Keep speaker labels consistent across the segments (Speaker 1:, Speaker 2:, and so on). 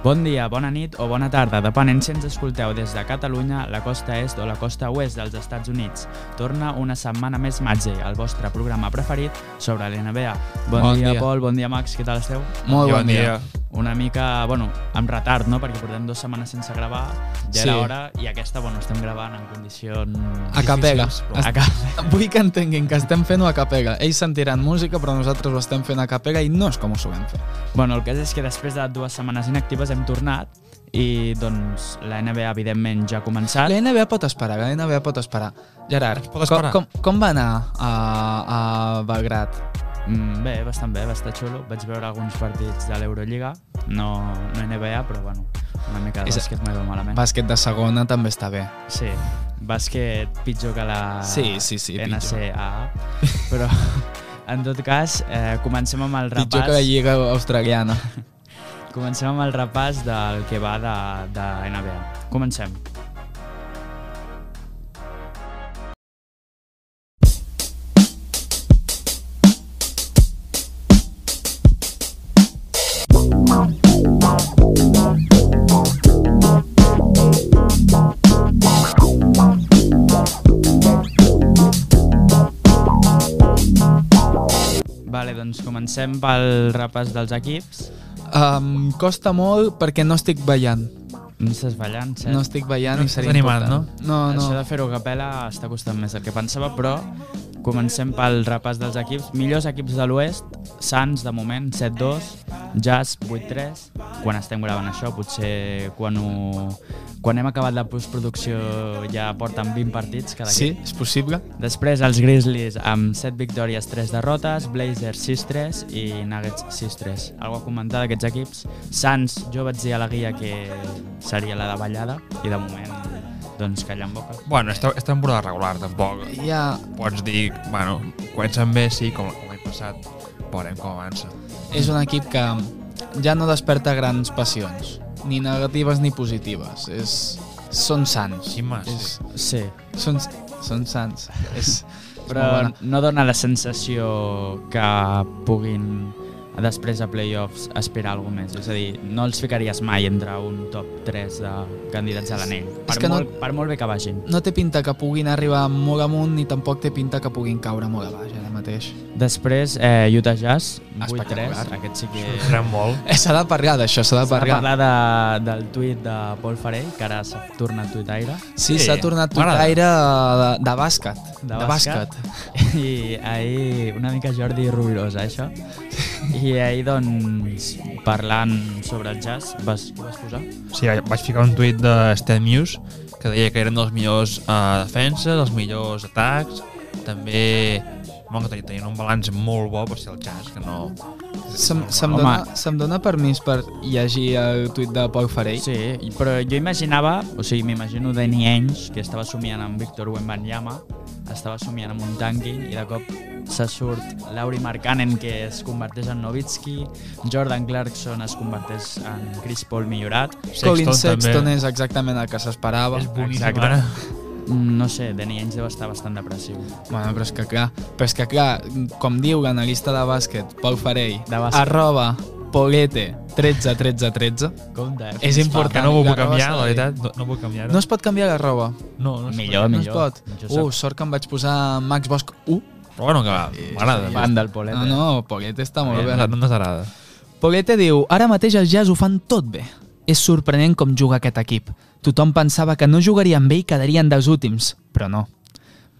Speaker 1: Bon dia, bona nit o bona tarda, depenent si ens escolteu des de Catalunya, la costa est o la costa oest dels Estats Units. Torna una setmana més Matze, el vostre programa preferit sobre l'NBA. Bon,
Speaker 2: Bon
Speaker 1: bon dia,
Speaker 2: dia.
Speaker 1: dia, Pol, bon dia, Max, què tal esteu?
Speaker 2: Molt bon, dia.
Speaker 1: Una mica, bueno, amb retard, no?, perquè portem dues setmanes sense gravar, ja
Speaker 2: Sí.
Speaker 1: era hora, i aquesta, bueno, estem gravant en condicions...
Speaker 2: A capella.
Speaker 1: difícils, però- A capella.
Speaker 2: Vull que entenguin que estem fent-ho a capella. Ells sentiran música, però nosaltres ho estem fent a capella i no és com ho solem fer.
Speaker 1: Bueno, el cas és que després de dues setmanes inactives hem tornat i doncs la NBA evidentment ja ha començat.
Speaker 2: La NBA pot esperar, la NBA pot esperar. Gerard,
Speaker 3: Pot esperar.
Speaker 2: Com, com, com va anar a, a Belgrat?
Speaker 1: Mm, bé, bastant bé, va estar xulo. Vaig veure alguns partits de l'Eurolliga, no, no NBA, però bueno, una mica de
Speaker 2: És-
Speaker 1: bàsquet m'hi va malament.
Speaker 2: Bàsquet de segona també està bé.
Speaker 1: sí, bàsquet pitjor que la
Speaker 2: Sí, sí, sí, pitjor.
Speaker 1: NCAA, però en tot cas, eh, comencem amb el
Speaker 2: Pitjor que la
Speaker 1: repàs,
Speaker 2: lliga australiana.
Speaker 1: comencem amb el repàs del que va de, de NBA. Comencem. Vale, doncs comencem pel repàs dels equips.
Speaker 2: Um, costa molt perquè no estic ballant.
Speaker 1: No estàs ballant, cert?
Speaker 2: No estic ballant
Speaker 3: No
Speaker 2: i seria
Speaker 3: estàs animat,
Speaker 2: important. No, no.
Speaker 1: Això de fer-ho a capella està costant més del que pensava, però comencem pel repàs dels equips. Millors equips de l'oest, Sants, de moment, 7-2, Jazz, 8-3. Quan estem gravant això, potser quan, ho... quan hem acabat la postproducció ja porten 20 partits cada
Speaker 2: Sí,
Speaker 1: equip.
Speaker 2: és possible.
Speaker 1: Després els Grizzlies amb 7 victòries, 3 derrotes, Blazers 6-3 i Nuggets 6-3. Algo a comentar d'aquests equips? Sants, jo vaig dir a la guia que seria la davallada i de moment doncs callar en boca.
Speaker 3: Bueno, és, te- és temporada regular, tampoc.
Speaker 2: Ja,
Speaker 3: Pots dir, bueno, comencen bé, sí, com, com l'any passat. Veurem com avança.
Speaker 2: és un equip que ja no desperta grans passions, ni negatives ni positives. És, són sants.
Speaker 3: Sí, mas.
Speaker 2: És,
Speaker 1: Sí,
Speaker 2: són, són sants. És,
Speaker 1: però no dona la sensació que puguin després a playoffs aspirar alguna més. És a dir, no els ficaries mai entre un top 3 de candidats a l'anell. Per,
Speaker 2: És que no-
Speaker 1: molt, per molt bé que vagin.
Speaker 2: no té pinta que puguin arribar molt amunt ni tampoc té pinta que puguin caure molt a baix ara mateix.
Speaker 1: Després, eh, Utah Jazz,
Speaker 2: Espectacular.
Speaker 1: 8-3. Aquest sí que...
Speaker 3: Sorprèn molt.
Speaker 2: Eh, S'ha de parlar d'això, s'ha de
Speaker 1: S'ha de
Speaker 2: parlar.
Speaker 1: parlar de, del tuit de Pol Farell, que ara s'ha tornat tuitaire,
Speaker 2: Sí,
Speaker 3: Sí,
Speaker 2: s'ha tornat tot
Speaker 3: m'agrada.
Speaker 2: aire de, de bàsquet.
Speaker 1: De
Speaker 2: De
Speaker 1: bàsquet.
Speaker 2: bàsquet.
Speaker 1: i ahir una mica Jordi Rubirosa, això. I ahir, doncs, parlant sobre el jazz, vas, ho vas posar?
Speaker 3: Sí, vaig- vaig ficar un tuit de Stan News que deia que eren dels millors eh, defenses, els millors atacs, també bueno, que tenien- tenien un balanç molt bo per ser el jazz, que no...
Speaker 2: Se'm, se'm,
Speaker 1: Home.
Speaker 2: dona, se'm dona permís per llegir el tuit de Pol Farell?
Speaker 1: Sí, i- però jo imaginava, o sigui, m'imagino Danny Ainge, que estava somiant amb Víctor Wembanyama, estava somiant amb un tanking i de cop se surt Lauri Markkanen que es converteix en Nowitzki, Jordan Clarkson es converteix en Chris Paul millorat,
Speaker 2: Colin
Speaker 3: Sexton
Speaker 2: Sexton
Speaker 3: també.
Speaker 2: és exactament el que s'esperava.
Speaker 3: És boníssim,
Speaker 1: Exacte.
Speaker 3: ara.
Speaker 1: Mm, No sé, Danny Ainge deu estar bastant depressiu.
Speaker 2: Bueno, però és que clar, però és que clar, com diu l'analista de bàsquet, Pau Farell,
Speaker 1: De bàsquet.
Speaker 2: arroba polete 13 13 13,
Speaker 1: Compte, eh?
Speaker 2: és
Speaker 3: Que
Speaker 2: important.
Speaker 3: no ho
Speaker 2: La
Speaker 3: puc
Speaker 2: roba
Speaker 3: canviar,
Speaker 2: s'ha
Speaker 3: la
Speaker 2: de dir.
Speaker 3: veritat, no, no puc canviar.
Speaker 2: No es pot canviar la roba.
Speaker 3: no, no es
Speaker 1: Millor,
Speaker 2: no
Speaker 1: millor.
Speaker 2: es pot.
Speaker 1: Jo sóc-
Speaker 2: Uh, sort que em vaig posar Max Bosch 1.
Speaker 3: Però bueno, que m'agrada.
Speaker 1: Fan del Polet.
Speaker 2: No, no, Polete està molt
Speaker 3: Eh,
Speaker 2: bé.
Speaker 3: No ens agrada.
Speaker 2: Poguete diu, ara mateix els jazz ho fan tot bé. És sorprenent com juga aquest equip. Tothom pensava que no jugaria amb ell i quedarien dels últims, però no.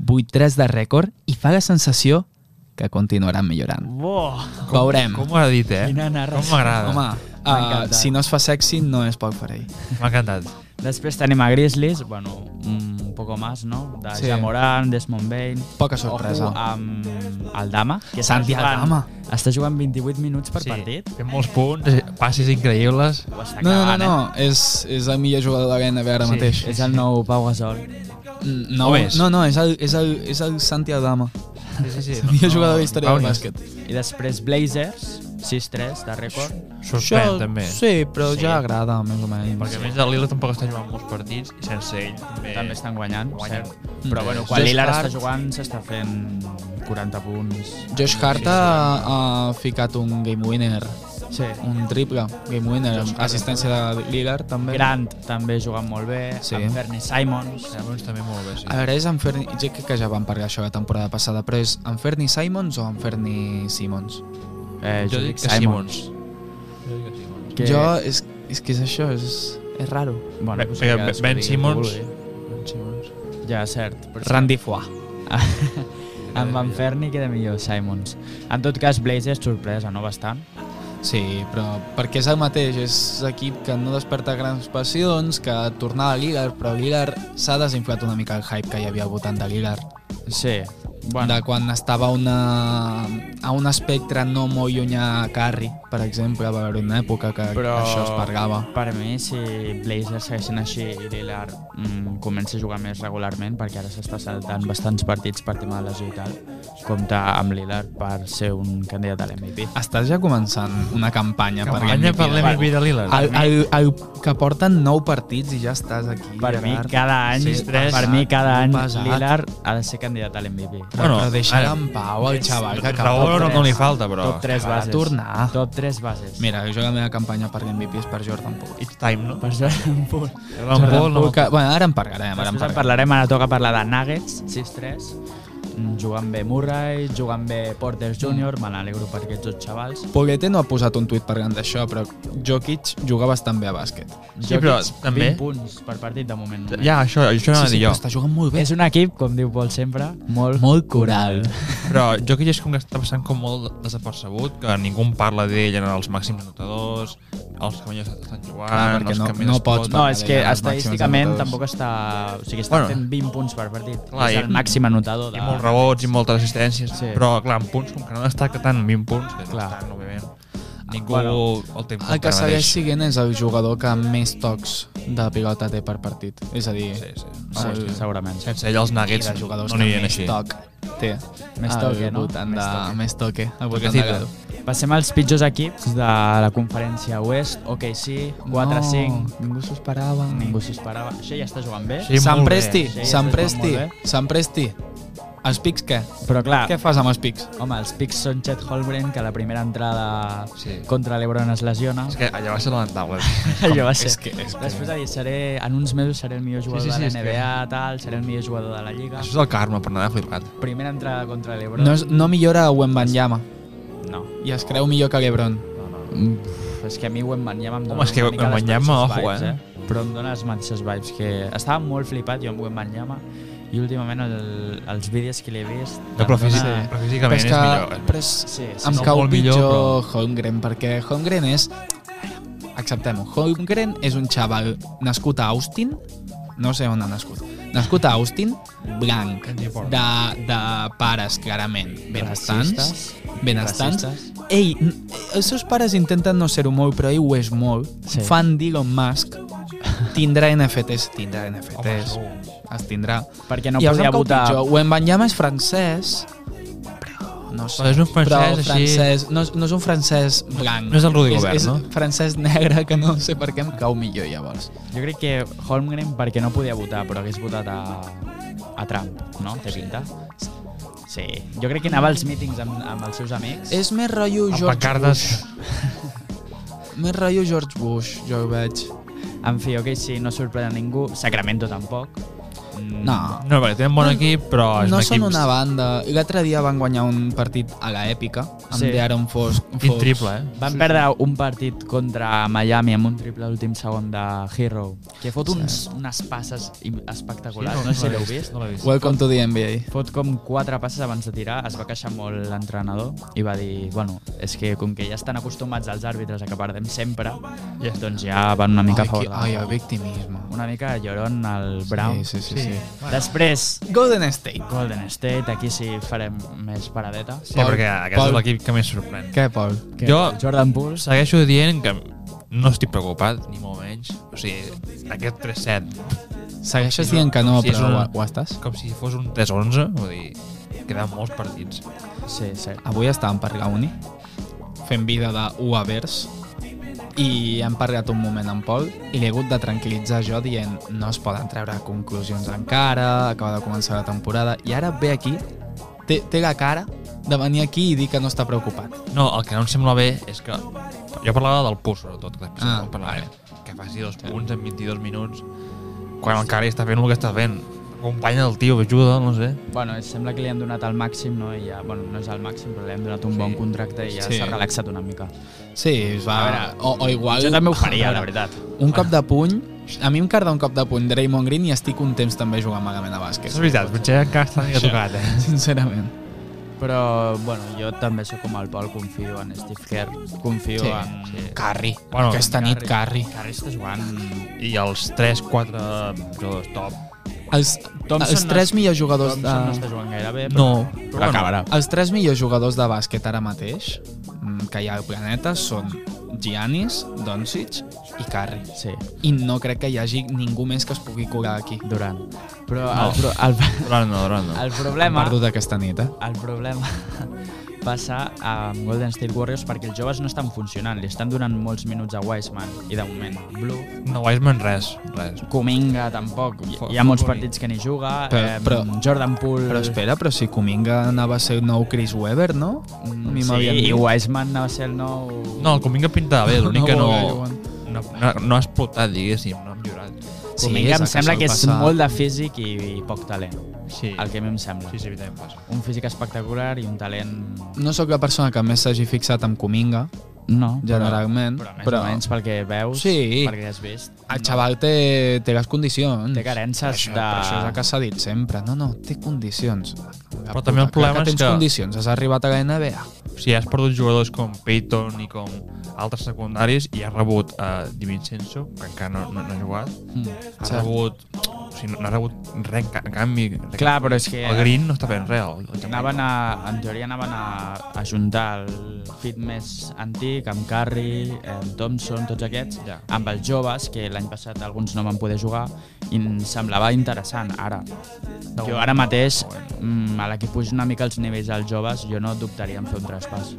Speaker 2: 8-3 de rècord i fa la sensació que continuaran millorant.
Speaker 1: Bo,
Speaker 2: Veurem.
Speaker 3: Com ho ha dit, eh?
Speaker 1: Quina
Speaker 3: Com
Speaker 1: narració.
Speaker 3: m'agrada.
Speaker 2: Home,
Speaker 1: Ah, M'ha
Speaker 2: uh,
Speaker 1: encantat.
Speaker 2: si no es fa sexy, no és poc per ell.
Speaker 3: M'ha encantat.
Speaker 1: Després tenim a Grizzlies, bueno, un poco más, no? De
Speaker 2: Sí.
Speaker 1: sí. Jamoran, Desmond Bain...
Speaker 2: Poca sorpresa.
Speaker 1: Ojo amb el Dama, que està
Speaker 2: Santi
Speaker 1: jugant-
Speaker 2: Aldama.
Speaker 1: Està jugant 28 minuts per sí. partit.
Speaker 3: Fem molts punts, eh, passes increïbles.
Speaker 1: Ho està
Speaker 2: No, no, no,
Speaker 1: clavant,
Speaker 2: no. És, és el millor jugador de la NBA ara
Speaker 1: eh?
Speaker 2: mateix.
Speaker 1: Ah, És el nou Pau Gasol.
Speaker 2: Mm, No,
Speaker 3: O més.
Speaker 2: no, no, és el, és el, és el Santi Aldama.
Speaker 3: Sí, sí, sí.
Speaker 2: El millor jugador de la història del bàsquet.
Speaker 1: I després Blazers, 6-3 de rècord.
Speaker 3: Sorprèn, també.
Speaker 2: Sí, però
Speaker 1: Sí.
Speaker 2: ja agrada, més o menys.
Speaker 3: Perquè a més el Lila tampoc està jugant molts partits i sense ell també...
Speaker 1: També estan guanyant,
Speaker 3: guanyen.
Speaker 1: cert. Però bueno, quan
Speaker 2: Josh
Speaker 1: Lillard
Speaker 2: Hart-
Speaker 1: està jugant s'està fent 40 punts.
Speaker 2: Josh Hart ha, ha ficat un game winner
Speaker 1: Sí.
Speaker 2: un triple, game winner, amb assistència de Lillard també.
Speaker 1: Grant també jugant molt bé, sí.
Speaker 2: Sí.
Speaker 1: amb Bernie Simons.
Speaker 3: Simons també molt bé, sí.
Speaker 2: A veure, és en Ferni... Ja crec que ja vam parlar això la temporada passada, però és en Ferni Simons o en Ferni Simons?
Speaker 1: Eh,
Speaker 3: jo dic que Simons. Jo dic que Simons.
Speaker 1: Que...
Speaker 2: Jo, és, és que és això, és...
Speaker 1: És raro. Bueno,
Speaker 3: Bé,
Speaker 1: pues,
Speaker 3: bé,
Speaker 1: cadascú digui el
Speaker 3: Ben
Speaker 1: que
Speaker 3: Simmons.
Speaker 1: vulgui.
Speaker 3: Ben Simons.
Speaker 1: Ja, cert. Però sí.
Speaker 2: Randy Foix.
Speaker 1: Amb Van Ferni queda millor Simons. En tot cas, Blazers, sorpresa, no bastant.
Speaker 2: Sí, però perquè és el mateix, és equip que no desperta grans passions, que tornar a Lillard, però Lillard s'ha desinflat una mica el hype que hi havia al voltant de Lillard.
Speaker 1: Sí.
Speaker 2: Bueno.
Speaker 1: Bueno,
Speaker 2: De quan estava a una, a un espectre no molt llunyà a Curry, per exemple, va haver una època que
Speaker 1: però...
Speaker 2: això es pagava.
Speaker 1: Per mi, si Blazers segueixen així i Lillard mm, comença a jugar més regularment, perquè ara s'està saltant bastants partits per tema de lesió i tal, compta amb Lillard per ser un candidat a l'MVP.
Speaker 2: Estàs ja començant una campanya,
Speaker 3: Campanya per
Speaker 2: de-
Speaker 3: l'MVP de Lillard.
Speaker 2: El, el, el que porten 9 partits i ja estàs aquí.
Speaker 1: Per mi,
Speaker 2: Gerard.
Speaker 1: cada any,
Speaker 3: Sí, tres.
Speaker 1: per mi, cada any
Speaker 2: Pesat.
Speaker 1: Lillard ha de ser candidat a l'MVP.
Speaker 2: Però,
Speaker 3: Bueno,
Speaker 2: bueno, però deixa
Speaker 3: ara-
Speaker 2: en pau el xaval que acaba.
Speaker 3: Raó
Speaker 1: Raúl-
Speaker 3: no,
Speaker 1: tres.
Speaker 3: no li falta, però...
Speaker 1: Top 3
Speaker 2: va
Speaker 1: bases.
Speaker 2: tornar.
Speaker 1: Top 3 bases.
Speaker 2: Mira, jo la meva campanya per MVP és per Jordan Poole.
Speaker 3: It's time, no?
Speaker 1: Per Jordan Poole.
Speaker 3: Jordan Poole, no?
Speaker 2: Que, bueno, ara en parlarem, ara en
Speaker 1: Després en
Speaker 2: parlarem.
Speaker 1: parlarem, ara toca parlar de Nuggets, 6-3. Mm, Jugant bé Murray, jugant bé Porter Jr., me n'alegro per aquests dos xavals.
Speaker 2: Poguete no ha posat un tuit parlant d'això, però Jokic juga bastant bé a bàsquet.
Speaker 3: Sí, però
Speaker 1: Jokic,
Speaker 3: també-
Speaker 1: 20 punts eh? per partit de moment. només.
Speaker 3: Ja, això, això anava a dir
Speaker 2: però
Speaker 3: jo.
Speaker 2: està jugant molt bé.
Speaker 1: És un equip, com diu Pol sempre, molt...
Speaker 2: molt coral.
Speaker 3: Però jo que és com que està passant com molt desapercebut, que ningú en parla d'ell en els màxims anotadors, els que millor estan jugant,
Speaker 2: Clar, perquè
Speaker 3: els
Speaker 2: no-
Speaker 3: que més
Speaker 2: no
Speaker 3: es
Speaker 2: pots-
Speaker 1: No, és que
Speaker 2: Vale, ja, els
Speaker 1: estadísticament
Speaker 2: màxims anotadors.
Speaker 1: tampoc està... O sigui, està
Speaker 3: Bueno.
Speaker 1: fent 20 punts per partit.
Speaker 3: Clar,
Speaker 1: és
Speaker 3: i-
Speaker 1: el màxim anotador.
Speaker 3: I
Speaker 1: De...
Speaker 3: molts rebots i moltes assistències,
Speaker 1: Sí.
Speaker 3: sí. però clar, en punts, com que no destaca tant en 20 punts, que
Speaker 1: Clar.
Speaker 3: no estan, òbviament, ningú
Speaker 1: Bueno,
Speaker 3: bueno, el té en
Speaker 2: El
Speaker 3: compte
Speaker 2: que
Speaker 3: ara
Speaker 2: segueix
Speaker 3: mateix.
Speaker 2: siguent és el jugador que més tocs de pilota té per partit. És a dir,
Speaker 3: Sí, sí.
Speaker 1: Ah,
Speaker 2: el-
Speaker 1: sí, segurament.
Speaker 3: Sense ell els
Speaker 2: i
Speaker 3: nuggets
Speaker 2: de jugadors
Speaker 3: no
Speaker 2: que
Speaker 3: anirien
Speaker 2: més
Speaker 3: així.
Speaker 2: toc té.
Speaker 1: Més toque,
Speaker 2: al
Speaker 1: no?
Speaker 2: voltant
Speaker 1: Més
Speaker 2: De,
Speaker 1: toque.
Speaker 2: més toque. Al voltant de...
Speaker 3: Toquecito.
Speaker 1: Passem als pitjors equips de la conferència oest. OKC, 4-5.
Speaker 2: No, ningú s'ho esperava.
Speaker 1: Ningú s'ho esperava. Això ja està jugant bé.
Speaker 3: Sí,
Speaker 2: Sant
Speaker 3: molt bé.
Speaker 2: Presti,
Speaker 1: Sí,
Speaker 2: Sant
Speaker 1: està
Speaker 2: Presti,
Speaker 1: jugant molt
Speaker 2: Sant Presti. Els pics què?
Speaker 1: Però clar,
Speaker 2: Què fas amb els pics?
Speaker 1: Home, els pics són Chet Holmgren, que la primera entrada
Speaker 3: Sí.
Speaker 1: contra l'Ebron es lesiona.
Speaker 3: És que allà va ser lamentable.
Speaker 1: Allò va ser.
Speaker 2: és que- és que-
Speaker 1: Després ha dit, seré, en uns mesos seré el millor jugador
Speaker 3: Sí, sí, sí,
Speaker 1: de
Speaker 3: és
Speaker 1: la
Speaker 3: que-
Speaker 1: NBA, tal, seré el millor jugador de la Lliga.
Speaker 3: Això és el karma, per anar flipat.
Speaker 1: Primera entrada contra l'Ebron.
Speaker 2: No, és, no millora a Wembanyama
Speaker 1: no.
Speaker 2: i es creu millor que l'Ebron.
Speaker 1: Pff, és que a mi Wembanyama em dona
Speaker 3: Home, és que
Speaker 1: una mica les
Speaker 3: Wembanyama,
Speaker 1: mateixes
Speaker 3: ojo,
Speaker 1: vibes,
Speaker 3: eh?
Speaker 1: Però em dona les mateixes vibes, que estava molt flipat jo amb Wembanyama i últimament el, els vídeos que l'he vist...
Speaker 3: No,
Speaker 1: em
Speaker 3: però,
Speaker 1: dona-
Speaker 3: físic, però
Speaker 2: Eh, Però
Speaker 3: físicament
Speaker 2: és
Speaker 3: és,
Speaker 2: que
Speaker 3: millor.
Speaker 2: però és,
Speaker 1: Sí, sí,
Speaker 2: em
Speaker 1: sí.
Speaker 2: cau
Speaker 3: molt millor,
Speaker 2: pitjor Holmgren, perquè Holmgren és... Acceptem-ho. Holmgren és un xaval nascut a Austin, no sé on ha nascut, nascut a Austin, blanc, de, de pares clarament benestants,
Speaker 1: Racistes,
Speaker 2: benestants,
Speaker 1: racistes.
Speaker 2: Ell, n- els seus pares intenten no ser-ho molt, però ell ho és molt.
Speaker 1: Sí.
Speaker 2: Sí. Fan d'Elon Musk. Tindrà NFTs, tindrà NFTs.
Speaker 3: Home,
Speaker 2: es tindrà.
Speaker 1: Perquè no
Speaker 2: I els
Speaker 1: podia
Speaker 2: em cau
Speaker 1: votar...
Speaker 2: pitjor. Wembanyama és francès, però no sé.
Speaker 3: Però és un francès
Speaker 2: però
Speaker 3: així-
Speaker 2: francès no, és- no és un francès blanc.
Speaker 3: No és el Rudy Gobert,
Speaker 2: és,
Speaker 3: no?
Speaker 2: És francès negre que no sé per què em cau millor, llavors.
Speaker 1: Jo crec que Holmgren perquè no podia votar, però hagués votat a, a Trump, no? Té pinta? Sí. Jo crec que anava als mítings amb, amb els seus amics.
Speaker 2: És més rotllo
Speaker 3: Amb
Speaker 2: George
Speaker 3: pancartes.
Speaker 2: Bush. Més rotllo George Bush, jo ho veig.
Speaker 1: En fi, ok, sí, no sorprèn a ningú. Sacramento tampoc. Mm,
Speaker 2: No,
Speaker 3: No, perquè tenen bon equip, però Oh, és
Speaker 2: no
Speaker 3: un
Speaker 2: són
Speaker 3: equip
Speaker 2: una banda. L'altre dia van guanyar un partit a la èpica amb
Speaker 1: Sí.
Speaker 2: sí. Aaron Fox.
Speaker 3: quin triple, eh?
Speaker 1: Van perdre un partit contra Miami amb un triple a l'últim segon de Hero, que fot uns, unes passes im- espectaculars. no, sé si l'heu vist.
Speaker 3: No l'he vist.
Speaker 2: Welcome to the NBA.
Speaker 1: Fot com quatre passes abans de tirar, es va queixar molt l'entrenador i va dir, bueno, és que com que ja estan acostumats els àrbitres a que perdem sempre,
Speaker 3: Ja està.
Speaker 1: doncs ja van una mica a
Speaker 2: ai,
Speaker 1: favor.
Speaker 2: qui-
Speaker 1: de la
Speaker 2: ai,
Speaker 1: bola.
Speaker 2: el victimisme.
Speaker 1: Una mica lloron al Brown.
Speaker 2: Sí, sí, sí. sí.
Speaker 1: Després,
Speaker 2: Golden State.
Speaker 1: Golden State, aquí sí farem més paradeta.
Speaker 3: Sí,
Speaker 2: Pol-
Speaker 3: perquè aquest
Speaker 2: Pol-
Speaker 3: és l'equip que més sorprèn.
Speaker 2: Què, Pol?
Speaker 1: Que
Speaker 3: Jo-
Speaker 1: Jordan Poole,
Speaker 3: Segueixo dient que no estic preocupat, ni molt menys. O sigui, aquest 3-7,
Speaker 2: Segueixes dient que no,
Speaker 3: Sí, és
Speaker 2: però
Speaker 3: una-
Speaker 2: ho, ho estàs?
Speaker 3: com si fos un 3-11, vull dir, queden molts partits.
Speaker 1: sí, sí.
Speaker 2: Avui estàvem per la uni, fent vida de UAVers, i hem parlat un moment amb Pol i l'he hagut de tranquil·litzar jo dient no es poden treure conclusions encara, acaba de començar la temporada, i ara ve aquí, té, té la cara de venir aquí i dir que no està preocupat.
Speaker 3: No, el que no em sembla bé és que Jo parlava del pus, sobretot, que després
Speaker 2: Ah,
Speaker 3: ah, parlaré. Que faci dos punts en 22 minuts, quan el Cari està fent el que està fent. Acompanya el tio, ajuda, no sé.
Speaker 1: Bueno, es- sembla que li han donat el màxim, no? I ja, bueno, no és el màxim, però li han donat un bon contracte i ja
Speaker 2: Sí.
Speaker 1: s'ha relaxat una mica.
Speaker 2: Sí, es va...
Speaker 1: A veure,
Speaker 2: o, o igual...
Speaker 1: Jo també ho faria,
Speaker 2: A
Speaker 1: la
Speaker 2: veure,
Speaker 1: veritat.
Speaker 2: Un cop de puny... A mi em carda un cop de puny Draymond Green i estic un temps també jugant malament a bàsquet.
Speaker 3: És veritat, potser encara està mica tocat, eh?
Speaker 2: Sincerament.
Speaker 1: Però, bueno, jo també sóc com el Pol, confio en Steve Kerr, confio
Speaker 2: Sí,
Speaker 1: en... Sí.
Speaker 2: Carri.
Speaker 3: Bueno,
Speaker 2: Aquesta nit, Carri.
Speaker 1: Carri està jugant...
Speaker 3: I els 3-4 jugadors top.
Speaker 2: Els,
Speaker 1: Thompson
Speaker 2: els tres
Speaker 1: no-
Speaker 2: millors jugadors
Speaker 1: Thompson no
Speaker 2: de...
Speaker 1: està jugant gaire bé, però...
Speaker 2: No,
Speaker 1: però acabarà.
Speaker 2: Els tres millors jugadors de bàsquet ara mateix mm, que hi ha al planeta són Giannis, Doncic i Curry.
Speaker 1: Sí,
Speaker 2: I no crec que hi hagi ningú més que es pugui curar aquí.
Speaker 1: Durant. Però
Speaker 3: No.
Speaker 1: el, pro el,
Speaker 3: Durant no, Durant no.
Speaker 1: el
Speaker 2: Hem
Speaker 1: problema...
Speaker 2: perdut aquesta nit, eh?
Speaker 1: El problema passa amb Golden State Warriors perquè els joves no estan funcionant. Li estan donant molts minuts a Wiseman i de moment Blue.
Speaker 3: No, Wiseman res, res.
Speaker 1: Cominga tampoc. Hi,
Speaker 3: Fo-
Speaker 1: hi ha molts
Speaker 3: fo-
Speaker 1: partits que ni juga.
Speaker 2: Però-
Speaker 1: eh,
Speaker 2: però-
Speaker 1: Jordan Poole...
Speaker 2: Però espera, però si Cominga anava a ser el nou Chris Webber, no? A mi
Speaker 1: Mm,
Speaker 2: m'havien
Speaker 1: sí,
Speaker 2: dit.
Speaker 1: i Wiseman va ser el nou...
Speaker 3: No, el Cominga pinta bé, l'únic
Speaker 2: No
Speaker 3: que no,
Speaker 2: volia, Joan.
Speaker 3: no, no, no ha explotat, diguéssim, no ha millorat.
Speaker 2: Sí,
Speaker 1: Cominga
Speaker 2: és
Speaker 1: em
Speaker 2: el que
Speaker 1: sembla
Speaker 2: sol
Speaker 1: que és
Speaker 2: passar.
Speaker 1: molt de físic i, i poc talent.
Speaker 3: Sí,
Speaker 1: El que a mi em sembla.
Speaker 3: sí, sí, evidentment passa.
Speaker 1: Un físic espectacular i un talent...
Speaker 2: No sóc la persona que més s'hagi fixat en Cominga,
Speaker 1: No,
Speaker 2: generalment,
Speaker 1: però, però més
Speaker 2: però,
Speaker 1: o menys pel que veus,
Speaker 2: Sí.
Speaker 1: pel que has vist,
Speaker 2: el xaval té, té les condicions.
Speaker 1: té carences
Speaker 2: Això,
Speaker 1: de...
Speaker 2: però això és el que s'ha dit sempre. No, no, té condicions. La
Speaker 3: Però també
Speaker 2: clar
Speaker 3: el problema
Speaker 2: que
Speaker 3: és
Speaker 2: tens
Speaker 3: que-
Speaker 2: condicions, has arribat a la NBA.
Speaker 3: Si has perdut jugadors com Peyton i com altres secundaris i has rebut a uh, DiVincenzo, que encara no, no, no ha jugat,
Speaker 2: Mm,
Speaker 3: has
Speaker 2: cert.
Speaker 3: rebut... O sigui, no, no has rebut res, en ca- en canvi... res.
Speaker 1: Clar, però és que...
Speaker 3: El Green no està fent res. El, el
Speaker 1: Anaven a, en teoria anaven a, a juntar el fit més antic amb Curry, amb Thompson, tots aquests,
Speaker 3: Ja.
Speaker 1: amb els joves, que l'any passat alguns no van poder jugar, i em semblava interessant, ara. Jo ara mateix, mm, a la que puja una mica els nivells dels joves, jo no dubtaria en fer un traspàs.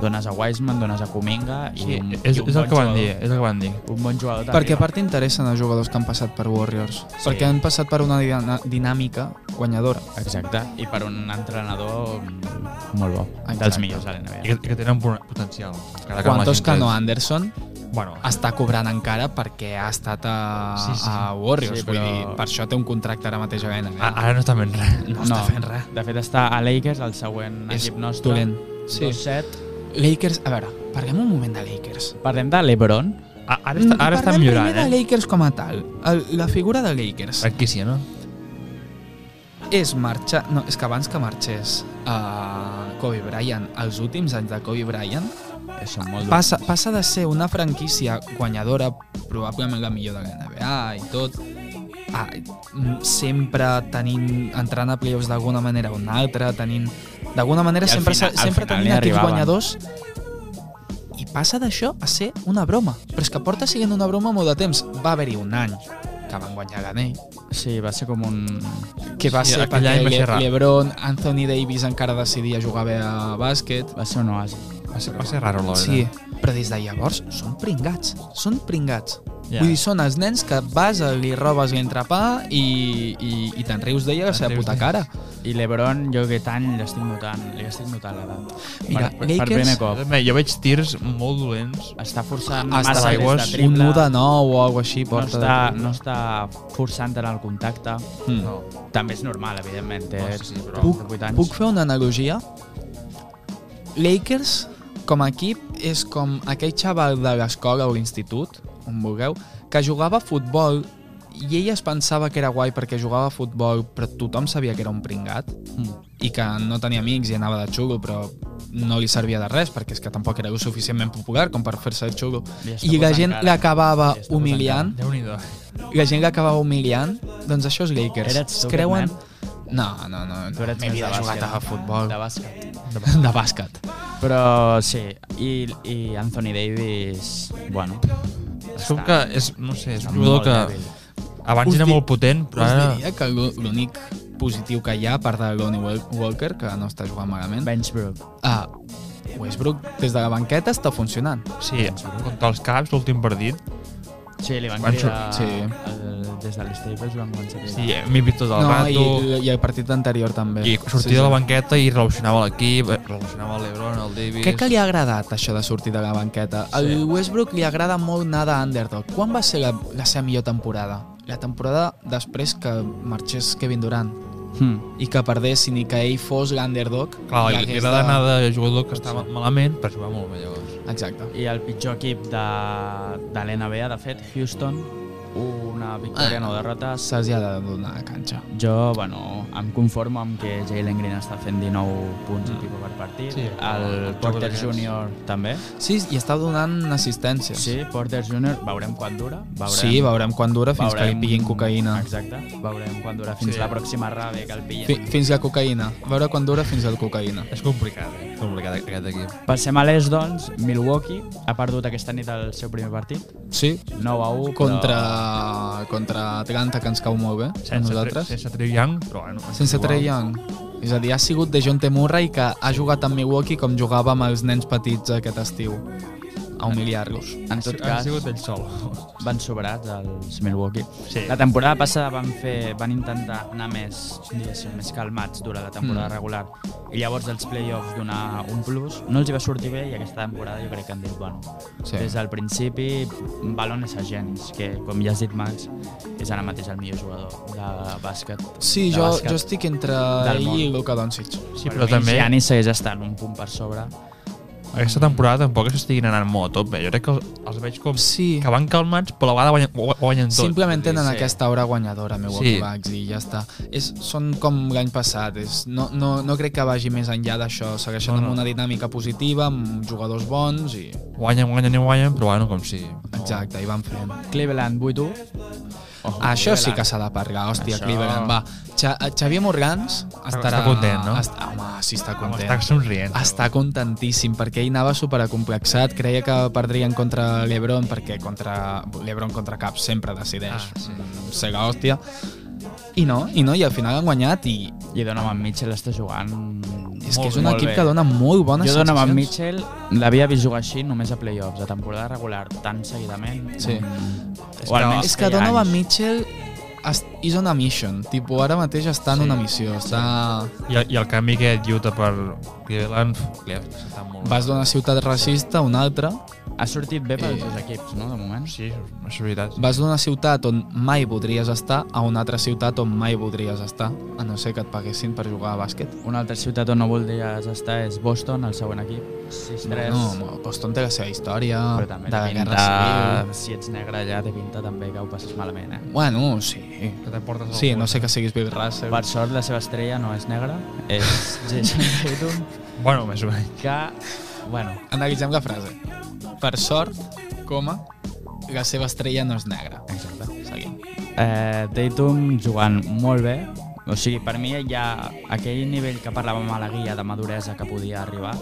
Speaker 1: Dones a Wiseman, dones a Cominga... I
Speaker 3: Sí,
Speaker 1: un,
Speaker 3: és,
Speaker 1: i un
Speaker 3: és el
Speaker 1: bon
Speaker 3: que van
Speaker 1: jugador-
Speaker 3: dir, és el que van dir.
Speaker 1: Un bon jugador també.
Speaker 2: Perquè a part t'interessen els jugadors que han passat per Warriors.
Speaker 1: Sí.
Speaker 2: Perquè han passat per una dina- dinàmica guanyadora.
Speaker 1: Exacte, i per un entrenador mm, molt bo,
Speaker 2: Exacte.
Speaker 1: dels millors a l'NBA.
Speaker 3: Ah, I que, i que tenen po- potencial. encara
Speaker 2: Quan
Speaker 3: que amb la gent
Speaker 2: Toscano
Speaker 3: és-
Speaker 2: Anderson
Speaker 3: Bueno,
Speaker 2: està cobrant encara perquè ha estat a,
Speaker 3: Sí, sí.
Speaker 2: a Warriors.
Speaker 1: Sí,
Speaker 2: Vull
Speaker 1: però-
Speaker 2: dir, per això té un contracte ara mateix a la NBA.
Speaker 3: a- ara no està fent res.
Speaker 2: no, està fent res.
Speaker 1: De fet, està a Lakers, el següent
Speaker 2: És
Speaker 1: equip nostre.
Speaker 2: dolent.
Speaker 1: Sí.
Speaker 2: Sí. Lakers, a veure, parlem un moment de Lakers.
Speaker 1: Parlem de l'Ebron.
Speaker 3: A- Ara està, ara està
Speaker 2: Parlem
Speaker 3: millorant,
Speaker 2: primer de
Speaker 3: eh?
Speaker 2: Lakers com a tal. El, la figura de Lakers
Speaker 3: Franquícia, eh, no?
Speaker 2: és marxar... No, és que abans que marxés uh, Kobe Bryant, els últims anys de Kobe Bryant,
Speaker 1: Són molt dolents.
Speaker 2: passa, passa de ser una franquícia guanyadora, probablement la millor de la NBA i tot, a, mm, sempre tenint, entrant a playoffs d'alguna manera o una altra, tenint... D'alguna manera
Speaker 1: I al
Speaker 2: sempre,
Speaker 1: final-
Speaker 2: se-
Speaker 1: al
Speaker 2: sempre
Speaker 1: final
Speaker 2: tenint
Speaker 1: hi
Speaker 2: equips
Speaker 1: arribaven.
Speaker 2: guanyadors i passa d'això a ser una broma. Però és que porta sent una broma molt de temps. Va haver-hi un any que van guanyar l'anell,
Speaker 1: Sí, va ser com un...
Speaker 2: que va
Speaker 3: Sí,
Speaker 2: ser
Speaker 3: aquell
Speaker 2: perquè
Speaker 3: any va ser
Speaker 2: Le-
Speaker 3: rar.
Speaker 2: LeBron, Anthony Davis encara decidia jugar bé a bàsquet.
Speaker 1: Va ser un oasi.
Speaker 3: Va ser, va ser raro, la veritat.
Speaker 2: Sí, però des de llavors són pringats, són pringats.
Speaker 3: Ja.
Speaker 2: Yeah. Vull dir, són els nens que vas, li robes l'entrepà i, i, i te'n rius d'ella la seva
Speaker 3: rius
Speaker 2: puta
Speaker 3: d'ella.
Speaker 2: cara.
Speaker 1: I l'Ebron, jo aquest any l'estic notant, li estic notant l'edat.
Speaker 2: Mira,
Speaker 1: per, per
Speaker 2: Lakers-
Speaker 1: primer
Speaker 3: Jo
Speaker 1: cop.
Speaker 3: també- Jo veig tirs molt dolents.
Speaker 1: Està forçant
Speaker 2: Hasta
Speaker 1: massa
Speaker 3: l'aigües,
Speaker 1: des de
Speaker 2: Un
Speaker 1: triple.
Speaker 2: 1 de 9 o alguna així
Speaker 1: no,
Speaker 2: porta.
Speaker 1: està, no està forçant tant el contacte.
Speaker 2: Mm.
Speaker 3: No.
Speaker 1: També és normal, evidentment. Té,
Speaker 3: No, sí, sí, però-
Speaker 2: Puc,
Speaker 1: 38 anys.
Speaker 2: puc fer una analogia? Lakers, com a equip, és com aquell xaval de l'escola o l'institut, on vulgueu, que jugava a futbol i ell es pensava que era guai perquè jugava a futbol, però tothom sabia que era un pringat
Speaker 1: Mm.
Speaker 2: i que no tenia amics i anava de xulo, però no li servia de res perquè és que tampoc era lo suficientment popular com per fer-se el xulo.
Speaker 1: Li està
Speaker 2: I la
Speaker 1: posant
Speaker 2: gent
Speaker 1: cara.
Speaker 2: l'acabava
Speaker 1: Li està posant
Speaker 2: humiliant
Speaker 3: Déu-n'hi-do.
Speaker 2: la gent que acabava humiliant, doncs això és Lakers.
Speaker 1: Eres tu,
Speaker 2: es creuen...
Speaker 1: aquest
Speaker 2: No, no, no.
Speaker 1: Tu eres
Speaker 2: M'he
Speaker 1: més de
Speaker 2: vida jugat
Speaker 1: bàsquet.
Speaker 2: a futbol.
Speaker 1: De bàsquet.
Speaker 2: De bàsquet.
Speaker 1: Però sí, i, i Anthony Davis, bueno,
Speaker 3: És com que és, no sé, és
Speaker 1: està
Speaker 3: un jugador
Speaker 1: molt
Speaker 3: que
Speaker 1: dèbil.
Speaker 3: abans
Speaker 2: Us
Speaker 3: era
Speaker 2: di-
Speaker 3: molt potent, però
Speaker 2: Us
Speaker 3: ara...
Speaker 2: diria que l'ú- l'únic positiu que hi ha, a part de Lonnie Wel- Walker, que no està jugant malament,
Speaker 1: Benchbrook.
Speaker 2: ah, Westbrook des de la banqueta està funcionant.
Speaker 3: Sí, contra els caps, l'últim partit.
Speaker 1: Sí, li van
Speaker 3: Van
Speaker 1: cridar
Speaker 2: sor- sí.
Speaker 1: el des de l'Staples van començar a
Speaker 3: Sí, m'he vist tot el
Speaker 2: No,
Speaker 3: rato.
Speaker 2: i, i el partit anterior també.
Speaker 3: I sortia sí, de la banqueta i relacionava l'equip, relacionava l'Ebron, el Davis...
Speaker 2: Crec que li ha agradat això de sortir de la banqueta. Al
Speaker 3: Sí.
Speaker 2: Westbrook li agrada molt anar d'underdog. Quan va ser la, la seva millor temporada? La temporada després que marxés Kevin Durant
Speaker 1: Hmm.
Speaker 2: i que perdés ni que ell fos l'underdog.
Speaker 3: Clar,
Speaker 2: i
Speaker 3: li, li
Speaker 2: hagués
Speaker 3: agrada anar de jugador que està malament per jugar molt bé llavors.
Speaker 2: Exacte.
Speaker 1: I el pitjor equip de, de l'NBA, de fet, Houston, una
Speaker 2: Ah.
Speaker 1: victòria, no derrotes.
Speaker 2: Se'ls hi ha de donar la canxa.
Speaker 1: Jo, bueno, em conformo amb que Jalen Green està fent 19 punts
Speaker 2: Hmm.
Speaker 1: i pico per partit.
Speaker 3: Sí.
Speaker 1: el
Speaker 3: Jocs
Speaker 1: Porter
Speaker 3: d'aquests.
Speaker 1: Junior també.
Speaker 2: Sí, i està donant assistències.
Speaker 1: Sí, Porter Junior, veurem quan dura. Veurem,
Speaker 2: sí veurem quan dura fins que
Speaker 1: veurem-
Speaker 2: li pillin cocaïna.
Speaker 1: Exacte, veurem quan dura fins
Speaker 3: Sí.
Speaker 1: la pròxima rave que el pillin.
Speaker 2: Fi, fins la cocaïna. A veure quan dura fins la cocaïna.
Speaker 3: És complicat, eh? És complicat aquest equip.
Speaker 1: Passem a l'est, doncs. Milwaukee ha perdut aquesta nit el seu primer partit.
Speaker 2: Sí,
Speaker 1: 9 a 1,
Speaker 2: contra, contra Atlanta, que ens cau molt bé. a
Speaker 3: Sense, tre,
Speaker 2: nosaltres.
Speaker 3: sense Trey Young, però bueno... és
Speaker 2: Sense
Speaker 3: igual.
Speaker 2: Trey Young. És a dir, ha sigut de John T. Murray que ha jugat amb Milwaukee com jugava amb els nens petits aquest estiu. A humiliar-los.
Speaker 1: però en tot
Speaker 3: Ha
Speaker 1: cas
Speaker 3: sigut ell sol.
Speaker 1: van sobrats els Milwaukee.
Speaker 3: Sí.
Speaker 1: La temporada passada van fer van intentar anar més, diguéssim, més calmats durant la temporada
Speaker 2: Mm.
Speaker 1: regular i llavors els playoffs donar un plus. No els hi va sortir bé i aquesta temporada jo crec que han dit, bueno,
Speaker 2: Sí.
Speaker 1: sí. des del principi balones a gens, que com ja has dit Max, és ara mateix el millor jugador de bàsquet.
Speaker 2: Sí,
Speaker 1: de
Speaker 2: jo,
Speaker 1: bàsquet.
Speaker 2: jo estic entre
Speaker 1: Del
Speaker 2: ell
Speaker 1: món.
Speaker 2: i Luka Doncic.
Speaker 3: Sí, però també
Speaker 1: Giannis segueix estant un punt per sobre.
Speaker 3: aquesta temporada tampoc és que estiguin anant molt a tope. Jo crec que els, els veig com
Speaker 2: Sí,
Speaker 3: que van calmats, però a la vegada guanyen, gu- guanyen tot.
Speaker 2: simplement
Speaker 3: Vull dir,
Speaker 2: tenen
Speaker 1: sí.
Speaker 2: aquesta hora guanyadora, Milwaukee
Speaker 3: Sí.
Speaker 2: Bucks, i ja està. És, són com l'any passat, és, no, no, no crec que vagi més enllà d'això. Segueixen
Speaker 3: No, no.
Speaker 2: amb una dinàmica positiva, amb jugadors bons i...
Speaker 3: Guanyen, guanyen i guanyen, però bueno, com si... no.
Speaker 2: Exacte, i van fent. Ah,
Speaker 1: Cleveland 8-1. Oh,
Speaker 2: Això sí que s'ha de parlar, hòstia,
Speaker 1: Això-
Speaker 2: Això... Cleveland, va. Xa Xavier Morgans estarà...
Speaker 3: Està content, no?
Speaker 2: Est home, sí, està
Speaker 3: Com
Speaker 2: content.
Speaker 3: està somrient.
Speaker 2: Està contentíssim, perquè ell anava superacomplexat, creia que perdrien contra l'Ebron, perquè contra l'Ebron contra cap sempre decideix
Speaker 3: Ah, sí.
Speaker 2: mm, ser la hòstia. I no, i no, i al final han guanyat, i
Speaker 1: I Donovan Mitchell està jugant...
Speaker 2: és
Speaker 1: molt,
Speaker 2: que és un
Speaker 1: molt
Speaker 2: equip
Speaker 1: bé.
Speaker 2: que dona molt bones
Speaker 1: Jo Donovan
Speaker 2: sensacions.
Speaker 1: Mitchell l'havia vist jugar així només a playoffs, a temporada regular, tan seguidament.
Speaker 2: Sí.
Speaker 1: Mm. O
Speaker 3: que-
Speaker 1: almenys
Speaker 2: És que
Speaker 1: feia
Speaker 2: Donovan
Speaker 1: anys.
Speaker 2: Mitchell es- is on a mission, tipo, ara mateix està en
Speaker 3: Sí.
Speaker 2: una missió, està...
Speaker 3: I, el- I el canvi que Utah per Cleveland li ha sentat molt
Speaker 2: Vas d'una ciutat racista a una altra,
Speaker 1: Ha sortit bé per
Speaker 2: Eh.
Speaker 1: els dos equips, no, de moment?
Speaker 3: Sí, és veritat.
Speaker 2: Vas d'una ciutat on mai voldries estar a una altra ciutat on mai voldries estar, a no ser que et paguessin per jugar a bàsquet.
Speaker 1: Una altra ciutat on no voldries estar és Boston, el següent equip. 6-3.
Speaker 2: No, Boston té la seva història,
Speaker 1: però
Speaker 2: de
Speaker 1: també
Speaker 2: la
Speaker 1: té
Speaker 2: guerra
Speaker 1: pinta,
Speaker 2: civil...
Speaker 1: si ets negre allà, té pinta també que ho passes malament, eh?
Speaker 2: Bueno, sí.
Speaker 3: Que te portes
Speaker 2: Sí,
Speaker 3: algun.
Speaker 2: no sé que siguis Bill Russell.
Speaker 1: Per sort, la seva estrella no és negra, és Jason Tatum,
Speaker 3: Bueno, més o menys.
Speaker 1: que, bueno,
Speaker 2: Analitzem la frase. Per sort, coma, la seva estrella no és negra.
Speaker 1: exacte.
Speaker 2: Seguim.
Speaker 1: Eh, Tatum jugant molt bé, o sigui, per mi ja aquell nivell que parlàvem a la guia de maduresa que podia arribar,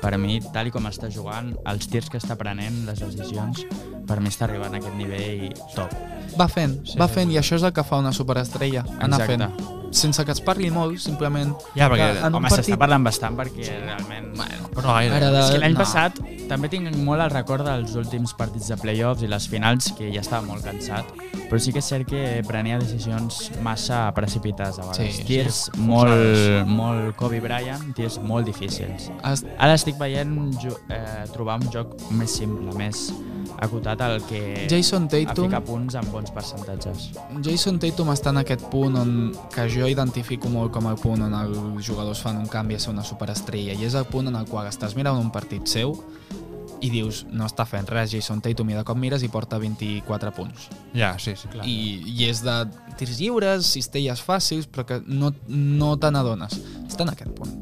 Speaker 1: per mi, tal i com està jugant, els tirs que està prenent, les decisions, per mi està arribant a aquest nivell top.
Speaker 2: Va fent, va fent, i això és el que fa una superestrella, anar
Speaker 1: Exacte.
Speaker 2: fent. Sense que es parli molt, simplement...
Speaker 3: Ja, perquè...
Speaker 2: Que en-
Speaker 1: Home,
Speaker 2: partit-
Speaker 1: s'està parlant bastant perquè realment...
Speaker 2: Bueno,
Speaker 3: Però no gaire.
Speaker 2: Ara de-
Speaker 1: És que l'any
Speaker 2: no.
Speaker 1: passat també tinc molt el record dels últims partits de playoffs i les finals, que ja estava molt cansat, però sí que és cert que prenia decisions massa precipitades a vegades.
Speaker 2: Sí,
Speaker 1: Sí, tirs molt, molt Kobe Bryant, tirs molt difícils.
Speaker 2: Has,
Speaker 1: Ara estic veient jo, eh, trobar un joc més simple, més acotat al que
Speaker 2: Jason
Speaker 1: a
Speaker 2: Tatum...
Speaker 1: ficar punts amb bons percentatges.
Speaker 2: Jason Tatum està en aquest punt on, que jo identifico molt com el punt on els jugadors fan un canvi a ser una superestrella i és el punt en el qual estàs mirant un partit seu i dius, no està fent res Jason Tatum i de cop mires i porta 24 punts
Speaker 3: Ja, sí, sí. Clar.
Speaker 2: I, i és de tirs lliures, cistelles fàcils però que no, no te n'adones està en aquest punt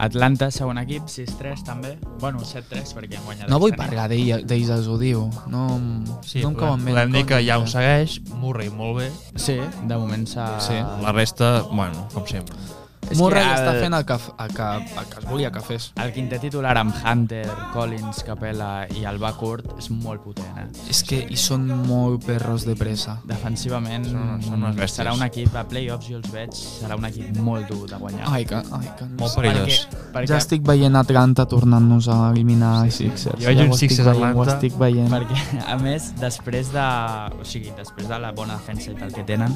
Speaker 1: Atlanta, segon equip, 6-3 també. Bueno, 7-3 perquè han guanyat.
Speaker 2: no vull
Speaker 1: aquesta nit.
Speaker 2: parlar d'ell- d'ells, els ho diu no, em-
Speaker 3: Sí,
Speaker 2: no em
Speaker 3: podem,
Speaker 2: cauen bé eh? no
Speaker 3: podem
Speaker 2: em
Speaker 3: dir que
Speaker 2: cauen
Speaker 3: ja ho
Speaker 2: bé.
Speaker 3: segueix, Murray molt bé,
Speaker 1: Sí, de moment s'ha...
Speaker 2: Sí.
Speaker 3: la resta, bueno, com sempre.
Speaker 1: És
Speaker 2: Murray
Speaker 1: que el-
Speaker 2: està fent el que, f- el, que, el que es volia que fes.
Speaker 1: El quintet titular amb Hunter, Collins, Capella i Alba Curt és molt potent, eh?
Speaker 2: És que hi són molt perros de pressa.
Speaker 1: Defensivament
Speaker 3: Són- són unes bèsties.
Speaker 1: serà un equip a playoffs, jo els veig, serà un equip molt dur de guanyar.
Speaker 2: Ai, que... Ai, que
Speaker 3: Molt perillós.
Speaker 1: perquè,
Speaker 2: Ja estic veient Atlanta tornant-nos a eliminar sí, els Sixers.
Speaker 3: Jo veig
Speaker 2: Ja ho
Speaker 3: uns
Speaker 2: estic
Speaker 3: Sixers
Speaker 2: veient,
Speaker 3: Atlanta.
Speaker 2: Ho estic veient.
Speaker 1: Perquè, a més, després de... O sigui, després de la bona defensa i tal que tenen,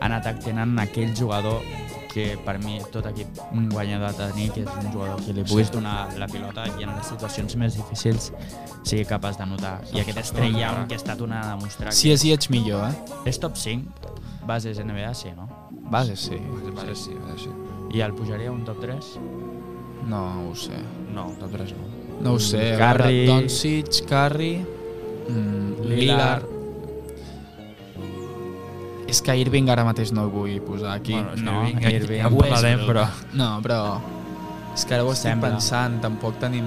Speaker 1: en atac tenen aquell jugador que per mi tot equip un guanyador ha de tenir, que és un jugador que li puguis donar la pilota i en les situacions més difícils sigui capaç de notar. I aquest Estrella Young que està tornant a demostrar
Speaker 2: Si és i ets millor, eh?
Speaker 1: que és top 5, bases NBA, sí, no?
Speaker 2: Base, sí.
Speaker 3: Vale, sí, vale, sí.
Speaker 1: I el pujaria a un top 3?
Speaker 2: No ho sé.
Speaker 3: No, top 3 no.
Speaker 2: No ho sé. a
Speaker 1: Curry.
Speaker 2: veure, Doncic, Curry, mm,
Speaker 1: Lillard.
Speaker 2: Lillard... És que Irving ara mateix no el vull posar aquí.
Speaker 3: Bueno, és que
Speaker 1: No,
Speaker 3: vinga,
Speaker 1: Irving.
Speaker 3: ja en parlarem,
Speaker 1: Westbrook.
Speaker 3: però...
Speaker 2: No, però... És que ara ho estic
Speaker 1: Sembla.
Speaker 2: pensant, tampoc tenim...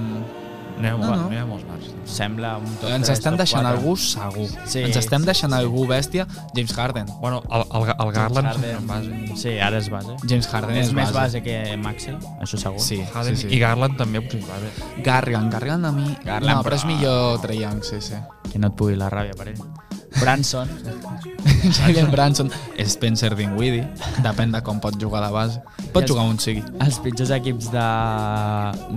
Speaker 3: Anem,
Speaker 2: No,
Speaker 3: no,
Speaker 2: no.
Speaker 3: no. anem a molts marcs.
Speaker 1: Sembla un top 3,
Speaker 2: Ens estem
Speaker 1: top
Speaker 2: deixant
Speaker 1: 4.
Speaker 2: algú segur.
Speaker 1: Sí,
Speaker 2: Ens estem
Speaker 1: sí,
Speaker 2: deixant
Speaker 1: sí.
Speaker 2: algú bèstia. James Harden.
Speaker 3: Bueno, el, el, el Garland, Harden, en base.
Speaker 1: Sí, ara és base.
Speaker 2: James Harden
Speaker 1: és,
Speaker 2: és,
Speaker 1: més base que Maxi, això segur.
Speaker 2: Sí,
Speaker 3: Harden
Speaker 2: sí,
Speaker 3: i
Speaker 2: sí.
Speaker 3: Garland també potser va bé.
Speaker 2: Garland, Garland a mi...
Speaker 1: Garland,
Speaker 2: no, però és
Speaker 1: però-
Speaker 2: millor Trae Young, sí, sí.
Speaker 1: Que no et pugui la ràbia per ell. Branson,
Speaker 2: Jalen Branson, Spencer Dinwiddie, depèn de com pot jugar la base.
Speaker 1: I
Speaker 2: Pot
Speaker 1: els-
Speaker 2: jugar on sigui.
Speaker 1: els pitjors equips de,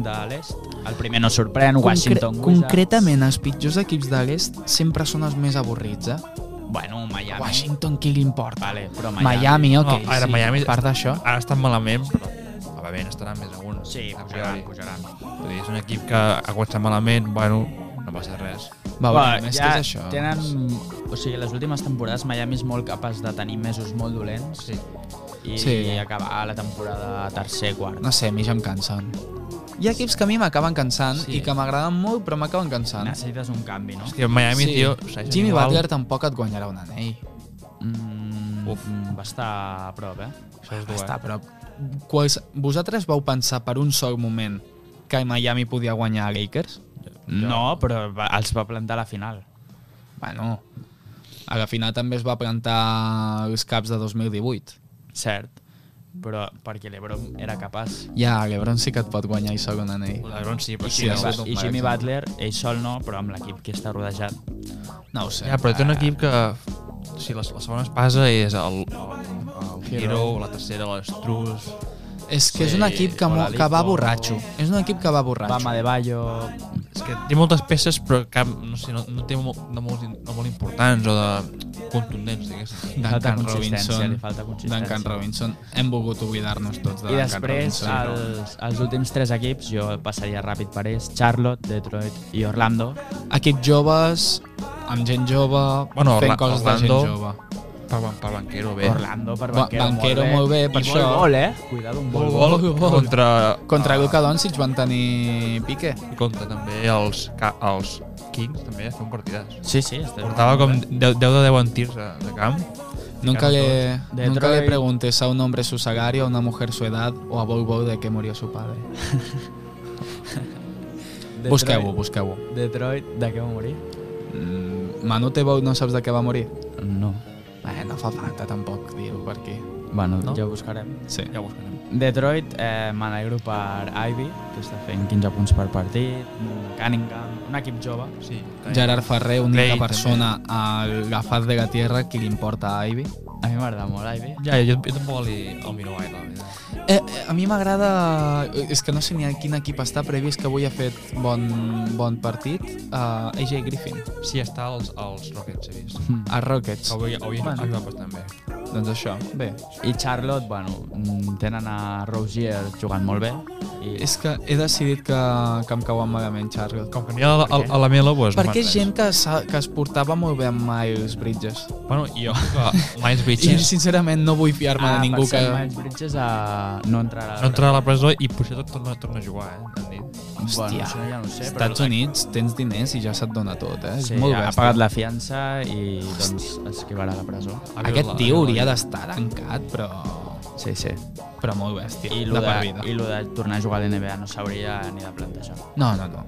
Speaker 1: de l'est. El primer no sorprèn, Washington
Speaker 2: Concre concretament, els pitjors equips de l'est sempre són els més avorrits, eh?
Speaker 1: Wizards. Bueno, Miami.
Speaker 2: Washington, qui li importa?
Speaker 1: Vale, però Miami.
Speaker 2: Miami, ok,
Speaker 3: No, ara
Speaker 2: sí,
Speaker 3: Miami-
Speaker 2: a part d'això.
Speaker 3: Ara estan malament, però probablement estaran més alguns.
Speaker 1: Sí,
Speaker 3: a
Speaker 1: pujaran,
Speaker 3: priori.
Speaker 1: pujaran.
Speaker 3: Vull dir, és un equip que ha començat malament, bueno, no passa res.
Speaker 2: Va,
Speaker 1: Va,
Speaker 2: veurem, és
Speaker 1: ja
Speaker 2: que és això.
Speaker 1: tenen... O sigui, les últimes temporades Miami és molt capaç de tenir mesos molt dolents
Speaker 3: Sí.
Speaker 1: i,
Speaker 2: Sí.
Speaker 1: i acabar la temporada tercer, quart.
Speaker 2: No sé, a mi ja em cansen. Hi ha equips que a mi m'acaben cansant
Speaker 1: Sí.
Speaker 2: i que m'agraden molt, però m'acaben cansant.
Speaker 1: Necessites un canvi, no?
Speaker 3: És que Miami, sí. tio, segueixen
Speaker 2: Jimmy
Speaker 3: igual.
Speaker 2: Butler tampoc et guanyarà un anell.
Speaker 1: Mm,
Speaker 3: Uf.
Speaker 1: va estar a prop, eh?
Speaker 3: Això és dur,
Speaker 2: Està,
Speaker 3: eh?
Speaker 2: però quals, vosaltres vau pensar per un sol moment que Miami podia guanyar a Lakers?
Speaker 1: No, però va, els va plantar a la final.
Speaker 2: Bueno, a la final també es va plantar els caps de 2018.
Speaker 1: Cert, però perquè l'Ebron era capaç.
Speaker 2: Ja, l'Ebron sí que et pot guanyar i sol un anell.
Speaker 3: Lebron sí, però
Speaker 2: I
Speaker 3: sí,
Speaker 2: si
Speaker 3: no.
Speaker 2: és-
Speaker 1: I Jimmy Butler, ell sol no, però amb l'equip que està rodejat.
Speaker 2: No ho sé.
Speaker 3: Ja, però té un equip que... Sí, la, la segona espasa és el, el, el Hero, la tercera l'Estrus...
Speaker 2: És que és un
Speaker 1: Sí,
Speaker 2: equip que, mo-
Speaker 1: Oladipo.
Speaker 2: que va borratxo. És un equip que va borratxo.
Speaker 1: Bama de Bayo...
Speaker 3: És que té moltes peces, però cap, no sé, no, no té molt, no molt, in- no molt importants o de contundents, diguéssim.
Speaker 1: Falta
Speaker 2: Duncan
Speaker 1: consistència,
Speaker 2: Robinson.
Speaker 1: li falta consistència.
Speaker 2: Duncan Robinson. Hem volgut oblidar-nos tots de
Speaker 1: I
Speaker 2: Duncan
Speaker 1: després,
Speaker 2: Robinson.
Speaker 1: els, els últims tres equips, jo passaria ràpid per ells, Charlotte, Detroit i Orlando.
Speaker 2: Equip joves, amb gent jove,
Speaker 3: Bueno,
Speaker 2: fent
Speaker 3: Orla-
Speaker 2: coses
Speaker 3: Orlando.
Speaker 2: de gent jove.
Speaker 3: Per, ban- per banquero, bé.
Speaker 1: Orlando per
Speaker 2: Ba-
Speaker 1: banquero,
Speaker 2: Banchero molt bé, per
Speaker 1: I
Speaker 2: això.
Speaker 1: molt gol, eh? Cuidado, un
Speaker 3: Vol,
Speaker 1: vol,
Speaker 3: vol, contra...
Speaker 2: Contra Luka Doncic van tenir pique.
Speaker 3: I contra també els, ca- els Kings, també, fer un partidàs.
Speaker 1: Sí, sí. Estem
Speaker 3: Portava com 10, 10 de 10 en tirs de, de camp.
Speaker 2: Nunca le,
Speaker 1: Detroit.
Speaker 2: nunca le preguntes a un hombre su salario, a una mujer su edad o a Bob Bob de que murió su padre.
Speaker 1: Detroit-
Speaker 2: Busqueu-ho, busqueu-ho.
Speaker 1: Detroit, de què va morir?
Speaker 2: Mm, Manute Bow no saps de què va morir?
Speaker 1: No.
Speaker 2: Eh, no fa falta tampoc dir-ho per aquí.
Speaker 1: Bueno,
Speaker 3: No?
Speaker 1: ja ho buscarem.
Speaker 2: Sí.
Speaker 3: Ja ho buscarem.
Speaker 1: Detroit, eh, m'alegro per Ivy, que està fent 15 punts per partit, Cunningham, un equip jove.
Speaker 3: Sí,
Speaker 2: Gerard Ferrer, única
Speaker 3: Clay,
Speaker 2: persona a la faz de la tierra que li importa a Ivy.
Speaker 1: A mi m'agrada molt Ivy.
Speaker 3: Ja, jo, jo tampoc li, el miro gaire, la veritat.
Speaker 2: Eh, eh, a mi m'agrada... eh, És que no sé ni a quin equip està, però he vist que avui ha fet bon, bon partit. Uh, AJ Griffin,
Speaker 3: Sí, està als, als Rockets, he vist.
Speaker 2: a Rockets.
Speaker 3: Que avui, avui
Speaker 2: Mm. Bueno.
Speaker 3: bueno. ajuda bastant bé.
Speaker 2: Doncs això, bé.
Speaker 1: I Charlotte, bueno, mm, tenen a Rozier jugant molt bé. I
Speaker 2: És que he decidit que, que em cauen malament, Charlotte.
Speaker 3: Com que n'hi ha a, a, a la Melo, doncs...
Speaker 2: Perquè és gent que, s'ha- que es portava molt bé amb Miles Bridges.
Speaker 3: Bueno, i jo, que Miles
Speaker 2: I
Speaker 3: Bridges
Speaker 2: sincerament no vull fiar-me
Speaker 1: ah,
Speaker 2: de ningú
Speaker 1: per
Speaker 2: que...
Speaker 1: cert, Miles Bridges a... no entrarà.
Speaker 3: no entra a la presó i potser tot torna, torna a jugar, eh? Hem dit.
Speaker 1: Bueno,
Speaker 2: Hòstia.
Speaker 1: això ja no ho sé, però...
Speaker 2: Estats Units tens diners i ja se't dona tot, eh?
Speaker 1: Sí,
Speaker 2: és molt
Speaker 1: ha
Speaker 2: bèstia.
Speaker 1: pagat la fiança i doncs esquivarà la presó.
Speaker 3: Ha
Speaker 2: Aquest
Speaker 3: violat-
Speaker 2: tio
Speaker 3: ha
Speaker 2: hauria
Speaker 3: violat.
Speaker 2: d'estar tancat, però...
Speaker 1: Sí, sí.
Speaker 2: Però molt bèstia,
Speaker 1: I
Speaker 2: de
Speaker 1: lo
Speaker 2: per
Speaker 1: de,
Speaker 2: vida.
Speaker 1: i lo de tornar a jugar a l'NBA no s'hauria ni de plantejar.
Speaker 2: No, no, no.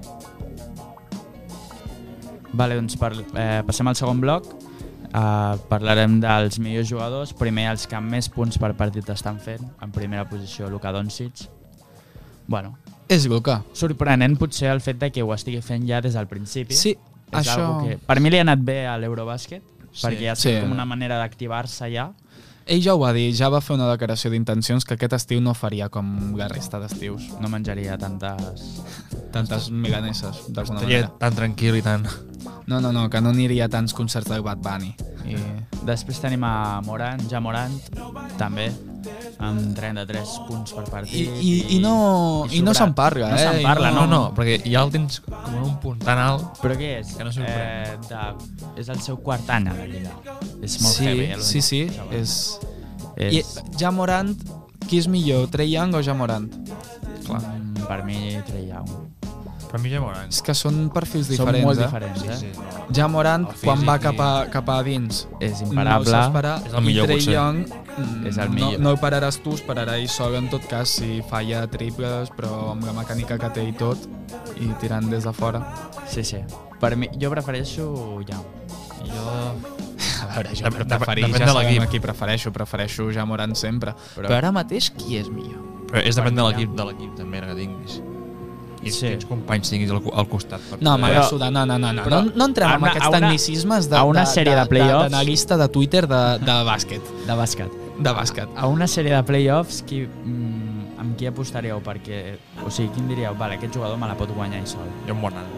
Speaker 1: Vale, doncs per, eh, passem al segon bloc. Uh, parlarem dels millors jugadors, primer els que més punts per partit estan fent, en primera posició Luka Doncic. Bueno,
Speaker 2: És Luka.
Speaker 1: sorprenent potser el fet de que ho estigui fent ja des del principi.
Speaker 2: Sí,
Speaker 1: és
Speaker 2: això...
Speaker 1: algo Que, per mi li ha anat bé a l'Eurobàsquet,
Speaker 3: Sí,
Speaker 1: perquè ha
Speaker 2: sí.
Speaker 1: sigut com una manera d'activar-se ja.
Speaker 2: Ell ja ho va dir, ja va fer una declaració d'intencions que aquest estiu no faria com la resta d'estius.
Speaker 1: No menjaria tantes...
Speaker 2: Tantes milaneses, d'alguna
Speaker 3: Estaria
Speaker 2: manera.
Speaker 3: tan tranquil i tan...
Speaker 2: No, no, no, que no aniria a tants concerts de Bad Bunny. I...
Speaker 1: Després tenim a Morant, ja Morant, també, amb 33 punts per
Speaker 2: I,
Speaker 1: partit.
Speaker 2: i, i no, i no
Speaker 1: sobrat.
Speaker 2: se'n parla,
Speaker 1: No
Speaker 2: eh?
Speaker 1: se'n
Speaker 2: I
Speaker 1: parla,
Speaker 3: No, no, perquè ja el tens com en un punt tan alt.
Speaker 1: Però què és?
Speaker 3: Que no sorprèn.
Speaker 1: Eh, de, és el seu quart any a la Lliga. És molt
Speaker 2: sí,
Speaker 1: heavy. eh,
Speaker 2: sí, sí,
Speaker 1: xaval.
Speaker 2: és... I,
Speaker 1: és
Speaker 2: ja Morant, qui és millor, Trey Young o ja Morant?
Speaker 1: clar. per mi Trey Young.
Speaker 3: Per mi ja m'agrada.
Speaker 2: És que són perfils
Speaker 1: Són
Speaker 2: diferents,
Speaker 1: molt
Speaker 2: eh?
Speaker 1: diferents, eh?
Speaker 3: Sí, sí.
Speaker 2: Ja Morant,
Speaker 3: El
Speaker 2: quan va
Speaker 3: físic i-
Speaker 2: cap a, cap a dins,
Speaker 1: És
Speaker 2: No ho
Speaker 1: imparable.
Speaker 2: saps parar.
Speaker 3: És el millor,
Speaker 2: I Trey
Speaker 3: potser.
Speaker 2: Young mm,
Speaker 1: És el millor.
Speaker 2: No, no el pararàs tu, es pararà ell sol, en tot cas, si falla triples, però amb la mecànica que té i tot, i tirant des de fora.
Speaker 1: sí, sí. Per mi, jo prefereixo Young.
Speaker 3: Jo...
Speaker 2: A veure,
Speaker 3: jo preferir- ja sabem a
Speaker 2: qui prefereixo, prefereixo ja Morant sempre. Però, però ara mateix, qui és millor?
Speaker 3: Però és depèn de l'equip, de l'equip també que tinguis. I
Speaker 1: Sí.
Speaker 3: sí. quins companys tinguis al, al costat. Per
Speaker 2: No,
Speaker 3: poder-
Speaker 1: Però-
Speaker 2: m'agrada sudar, no, no, no, no,
Speaker 1: però-
Speaker 2: no, no entrem
Speaker 1: a
Speaker 2: en
Speaker 1: una-
Speaker 2: aquests
Speaker 1: a una-
Speaker 2: tecnicismes de,
Speaker 1: a una sèrie de playoffs.
Speaker 2: d'analista de, Twitter de, de bàsquet.
Speaker 1: De bàsquet.
Speaker 2: De bàsquet.
Speaker 1: A una sèrie de playoffs, qui, mm, amb qui apostaríeu? Perquè, o sigui, quin diríeu? Vale, aquest jugador me la pot guanyar i sol.
Speaker 3: Jo em Morant.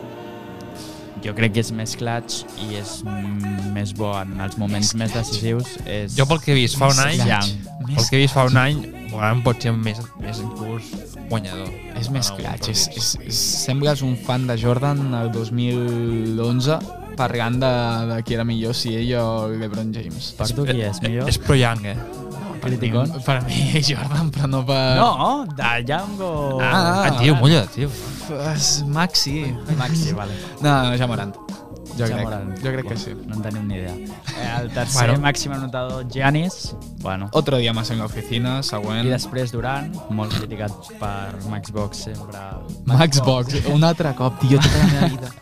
Speaker 1: Jo crec que és més clutch i és mm, més bo en els moments més decisius. És...
Speaker 3: Jo pel que he vist fa un
Speaker 1: Més
Speaker 3: any...
Speaker 1: clutch.
Speaker 3: Pel que he vist fa un any, Morant pot ser més, més inclús guanyador.
Speaker 2: És més
Speaker 3: En algun
Speaker 2: clutch.
Speaker 3: partit.
Speaker 2: És, és, és, sembles un fan de Jordan el 2011 parlant de, de qui era millor, si ell o LeBron James.
Speaker 1: Per tu qui és millor?
Speaker 3: És pro young, eh?
Speaker 1: Criticón?
Speaker 2: Per mi, Jordan, però no per...
Speaker 1: No, de Django.
Speaker 2: Eh. Ah.
Speaker 3: Ah, tio, mulla, tio.
Speaker 2: És Maxi.
Speaker 1: Maxi, vale.
Speaker 2: No, no, ja Morant. Jo crec,
Speaker 1: Morant.
Speaker 2: jo crec que sí.
Speaker 1: No en tenim ni idea. Eh, El tercer bueno.
Speaker 3: Bueno.
Speaker 1: màxim anotador, Giannis. Bueno.
Speaker 2: Otro dia más en la oficina, següent.
Speaker 1: I després Durant, molt criticat per Max Box sempre.
Speaker 2: Max Box, un altre cop, tio, tota la meva vida.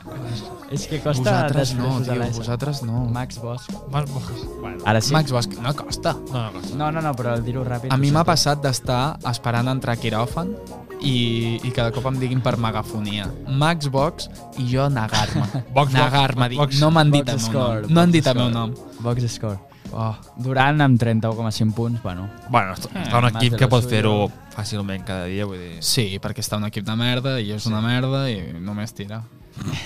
Speaker 1: És que costa després
Speaker 2: Vosaltres no,
Speaker 1: posar
Speaker 2: tio,
Speaker 1: la S.
Speaker 2: vosaltres no.
Speaker 1: Max Box.
Speaker 3: Mas, bueno.
Speaker 1: Ara sí.
Speaker 2: Max Box, no costa.
Speaker 3: No, no,
Speaker 1: No, no, no, però el dir-ho ràpid.
Speaker 2: A mi
Speaker 1: ho
Speaker 2: m'ha
Speaker 1: sento.
Speaker 2: passat d'estar esperant entrar a quiròfan i, i cada cop em diguin per megafonia. Max Box i jo negar-me.
Speaker 3: Box,
Speaker 2: negar-me.
Speaker 3: box,
Speaker 2: dir,
Speaker 3: box.
Speaker 2: no m'han dit el
Speaker 1: Box
Speaker 2: meu
Speaker 1: score,
Speaker 2: nom. No han
Speaker 1: box
Speaker 2: dit el
Speaker 1: score.
Speaker 2: meu nom.
Speaker 1: Box score.
Speaker 2: Oh.
Speaker 1: Durant amb 31,5 punts, bueno.
Speaker 3: Bueno, està,
Speaker 2: Eh,
Speaker 3: està un
Speaker 1: Mas
Speaker 3: equip
Speaker 1: de
Speaker 3: que
Speaker 1: lo
Speaker 3: pot
Speaker 1: suyo.
Speaker 3: fer-ho fàcilment cada dia, vull dir...
Speaker 2: Sí, perquè està un equip de merda i és una merda i només tira.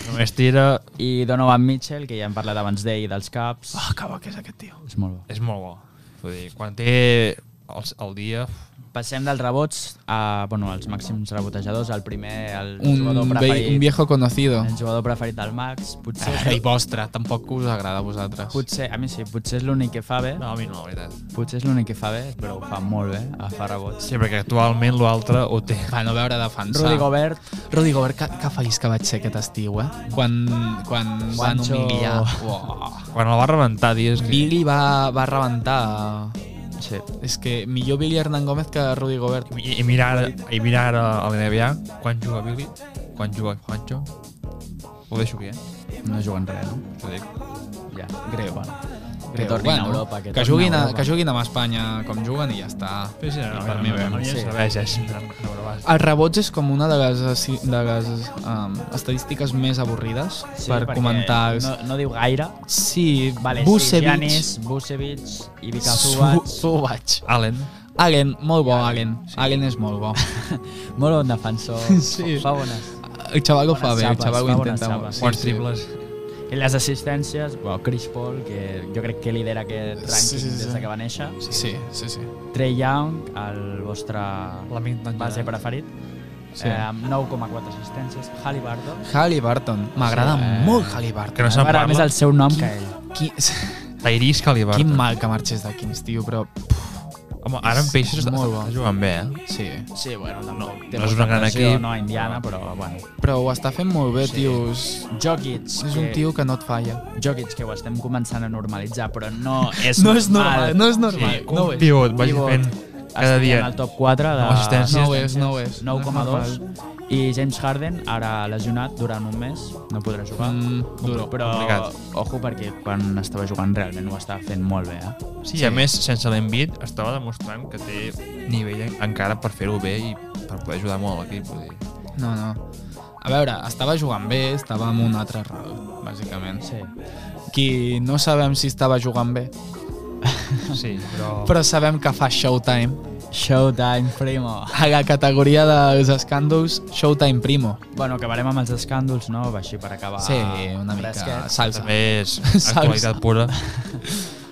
Speaker 3: Només tira...
Speaker 1: I Donovan Mitchell, que ja hem parlat abans d'ell dels caps.
Speaker 2: Oh, que bo que és aquest tio.
Speaker 1: És molt bo.
Speaker 3: És molt bo. Vull dir, quan té el, el dia...
Speaker 1: Passem dels rebots a, bueno, als màxims rebotejadors. El primer, el
Speaker 2: Un,
Speaker 1: jugador preferit.
Speaker 2: vell, un viejo Ah. conocido.
Speaker 1: El jugador preferit del Max. Potser,
Speaker 2: I vostre, tampoc us agrada a vosaltres.
Speaker 1: potser, a mi sí, potser és l'únic que fa bé.
Speaker 3: No, a mi no, la veritat.
Speaker 1: Potser és l'únic que fa bé, però ho fa molt bé, a fa rebots.
Speaker 3: Sí, perquè actualment l'altre ho té.
Speaker 2: Va, no veure defensar.
Speaker 1: Rudy Gobert,
Speaker 2: Rodrigo, Gobert, que, que feliç que vaig ser aquest estiu, eh? Quan, quan van
Speaker 1: Juancho.
Speaker 2: humiliar. Uah.
Speaker 3: Quan el va rebentar, dius que...
Speaker 2: Billy va, va rebentar.
Speaker 1: sí.
Speaker 2: És que millor Billy Hernán Gómez que Rudy Gobert.
Speaker 3: I, i mirar, i mirar ara a l'NBA, quan juga Billy, quan juga Juancho, ho deixo aquí, eh?
Speaker 1: no juguen res, no?
Speaker 3: Us ho dic.
Speaker 1: Ja, greu. Bueno. Que
Speaker 2: Creu.
Speaker 1: tornin a Europa. Que,
Speaker 2: eh? que,
Speaker 1: tornin
Speaker 2: juguin a,
Speaker 1: Europa.
Speaker 2: que juguin amb Espanya com juguen i ja està.
Speaker 3: Sí, sí, no,
Speaker 2: Per mi bé.
Speaker 1: Sí.
Speaker 3: ja és un
Speaker 2: Els rebots és com una de les, assi- de les um, estadístiques més avorrides
Speaker 1: Sí,
Speaker 2: per
Speaker 1: perquè
Speaker 2: comentar.
Speaker 1: No, no diu gaire.
Speaker 2: Sí,
Speaker 1: Vale, sí,
Speaker 2: Vucevic,
Speaker 1: Giannis, Vucevic, Ivica
Speaker 2: Su-
Speaker 1: Zubac.
Speaker 2: Subac.
Speaker 3: Allen,
Speaker 2: Allen, molt bo, Allen. Allen és molt bo.
Speaker 1: Molt bon defensor.
Speaker 2: Sí.
Speaker 1: Fa bones.
Speaker 2: El xaval ho fa
Speaker 1: Bones
Speaker 2: bé, el
Speaker 1: xapes,
Speaker 2: xaval ho
Speaker 1: fa bones
Speaker 2: intenta
Speaker 1: xapes.
Speaker 2: molt.
Speaker 3: quants triples?
Speaker 1: I les assistències, bueno, Chris Paul, que jo crec que lidera aquest
Speaker 2: Sí,
Speaker 1: rànquing
Speaker 2: sí, sí.
Speaker 1: des de que va néixer.
Speaker 2: Sí, sí, sí. sí.
Speaker 1: Trey Young, el vostre
Speaker 3: L'amic d'en
Speaker 1: base
Speaker 3: Gerard.
Speaker 1: preferit,
Speaker 2: Sí.
Speaker 1: sí. eh, amb 9,4 assistències. Halliburton.
Speaker 2: Halliburton. M'agrada
Speaker 1: Sí.
Speaker 2: molt Halliburton.
Speaker 3: Que no se'n
Speaker 1: M'agrada
Speaker 3: parla.
Speaker 1: més el seu nom que ell.
Speaker 2: Qui,
Speaker 3: Tairis Calibar.
Speaker 2: quin mal que marxés de Kings, tio, però...
Speaker 3: Home, ara en Peixos està,
Speaker 2: Molt bo.
Speaker 3: està jugant bé, eh?
Speaker 2: Sí.
Speaker 1: Sí, bueno, tampoc. No,
Speaker 3: no és una gran equip.
Speaker 1: No, a Indiana, però bueno.
Speaker 2: Però ho està fent molt bé, sí. tio. És,
Speaker 1: Jokic,
Speaker 2: és un
Speaker 1: que-
Speaker 2: tio que no et falla.
Speaker 1: Jokic, que ho estem començant a normalitzar, però no és
Speaker 2: Ah, No és normal, no és normal.
Speaker 1: Sí.
Speaker 2: No ho és.
Speaker 3: Pivot, vagi
Speaker 1: Pivot.
Speaker 3: fent Cada
Speaker 1: estaria
Speaker 3: dia.
Speaker 1: en el top 4 de...
Speaker 3: Amb assistència.
Speaker 2: No ho és, no ho és.
Speaker 1: 9,2 i James Harden ara lesionat durant un mes no podrà jugar
Speaker 2: Mm, duro.
Speaker 1: però
Speaker 3: complicat.
Speaker 1: ojo perquè quan estava jugant realment ho estava fent molt bé eh?
Speaker 3: Sí, sí, a més, sense l'envit, estava demostrant que té nivell en- encara per fer-ho bé i per poder ajudar molt a l'equip. vull dir.
Speaker 2: No, no. A veure, estava jugant bé, estava amb un altre rol, bàsicament.
Speaker 1: sí.
Speaker 2: Qui no sabem si estava jugant bé,
Speaker 3: Sí, però...
Speaker 2: però sabem que fa Showtime.
Speaker 1: Showtime Primo
Speaker 2: A la categoria dels escàndols, Showtime Primo.
Speaker 1: bueno, acabarem amb els escàndols no? així per acabar
Speaker 2: Sí, Ah, una mica
Speaker 1: fresquets.
Speaker 2: salsa.
Speaker 3: També és
Speaker 2: Salsa.
Speaker 3: actualitat pura.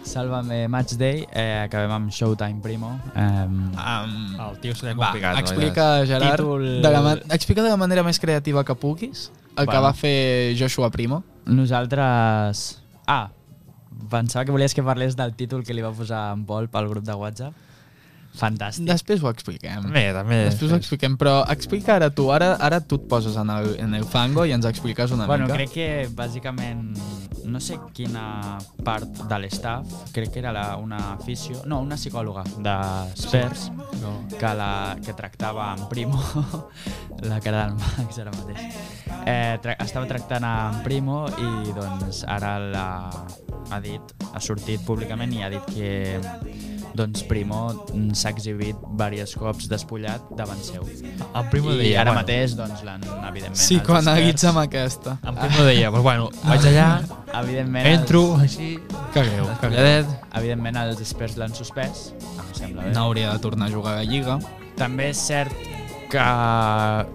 Speaker 1: Sálvame Match Day eh, acabem amb Showtime Primo eh,
Speaker 2: Um,
Speaker 3: El tio serà
Speaker 2: va,
Speaker 3: complicat. la
Speaker 2: explica, Gerard,
Speaker 1: Títol-
Speaker 2: de la, ma- explica de la manera més creativa que puguis el que
Speaker 1: Bueno.
Speaker 2: va fer Joshua Primo.
Speaker 1: nosaltres ah pensava que volies que parlés del títol que li va posar en Pol pel grup de Whatsapp fantàstic
Speaker 2: Després ho expliquem.
Speaker 3: També, també.
Speaker 2: Després ho expliquem, però explica ara tu, ara, ara tu et poses en el, en el fango i ens expliques una
Speaker 1: Bueno,
Speaker 2: mica.
Speaker 1: crec que bàsicament no sé quina part de l'estaf, crec que era la, una afició, no, una psicòloga de Spurs
Speaker 3: No.
Speaker 1: que, la, que tractava en Primo la cara del Max ara mateix eh, tra estava tractant en Primo i doncs ara la, ha dit, ha sortit públicament i ha dit que doncs Primo mm, s'ha exhibit diversos cops despullat davant seu
Speaker 3: El Primo
Speaker 1: i
Speaker 3: deia,
Speaker 1: ara
Speaker 3: bueno,
Speaker 1: mateix doncs l'han evidentment
Speaker 2: Sí,
Speaker 1: els
Speaker 2: quan
Speaker 1: experts-
Speaker 2: analitzem aquesta.
Speaker 1: Ah,
Speaker 3: En Primo deia, pues bueno, vaig allà,
Speaker 1: Evidentment,
Speaker 3: entro, així...
Speaker 2: Que greu, que greu.
Speaker 3: Calladet.
Speaker 1: Els, evidentment els experts l'han suspès, em sembla bé.
Speaker 2: No hauria de tornar a jugar a la Lliga.
Speaker 1: També és cert que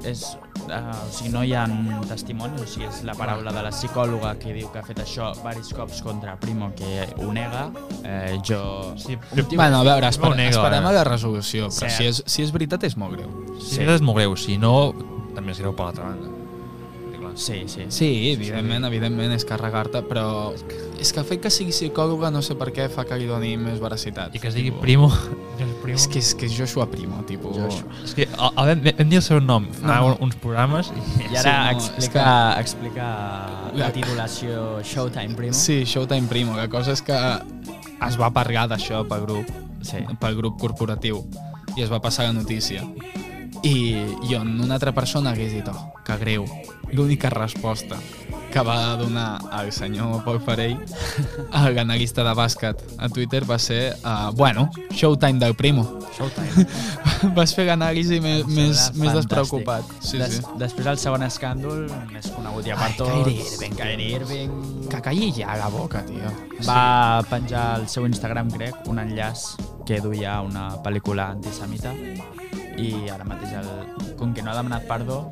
Speaker 1: és, eh, o sigui, no hi ha testimonis, o sigui, és la paraula de la psicòloga que diu que ha fet això varis cops contra Primo, que ho nega. Eh, jo...
Speaker 3: Sí,
Speaker 2: Bueno, a veure,
Speaker 3: Primo ho
Speaker 2: espera,
Speaker 3: nega,
Speaker 2: esperem a
Speaker 3: ara.
Speaker 2: la resolució, però
Speaker 1: eh? Cert.
Speaker 2: si és, si és veritat és molt greu.
Speaker 3: Si sí. és molt greu, si no, també és greu per l'altra banda. Sí, clar.
Speaker 1: Sí, sí.
Speaker 2: Sí, evidentment, evidentment és carregar-te, però és que el fet que sigui psicòloga no sé per què fa que li doni més veracitat.
Speaker 3: I que es digui Primo. Que és, primo.
Speaker 2: És que és, que és Joshua Primo, tipus... Joshua.
Speaker 3: és que el, el vam, vam dir el seu nom fa
Speaker 2: No.
Speaker 3: no. uns programes i
Speaker 1: I ara
Speaker 2: Sí, no,
Speaker 1: sí,
Speaker 2: és
Speaker 1: no, explica, explica la
Speaker 2: La-
Speaker 1: titulació Showtime Primo.
Speaker 2: Sí, Showtime Primo, la cosa és que es va parlar d'això pel grup,
Speaker 1: sí.
Speaker 2: pel grup corporatiu i es va passar la notícia. I jo, en una altra persona, hagués dit, oh, que greu. L'única resposta que va donar el senyor Pol Farell, l'analista de bàsquet a Twitter, va ser, uh, bueno, Showtime del Primo.
Speaker 1: Showtime.
Speaker 2: Vas fer l'anàlisi més,
Speaker 1: Em
Speaker 2: més,
Speaker 1: sembla
Speaker 2: més
Speaker 1: fantàstic.
Speaker 2: despreocupat. Sí,
Speaker 1: Des,
Speaker 2: sí.
Speaker 1: Després el segon escàndol, més conegut ja per
Speaker 2: Ai,
Speaker 1: tots.
Speaker 2: Kyrie Irving.
Speaker 1: Kyrie Irving.
Speaker 2: Que calli ja la boca, tio.
Speaker 1: Va penjar al seu Instagram, crec, un enllaç que duia una pel·lícula antisemita i ara mateix, el, com que no ha demanat perdó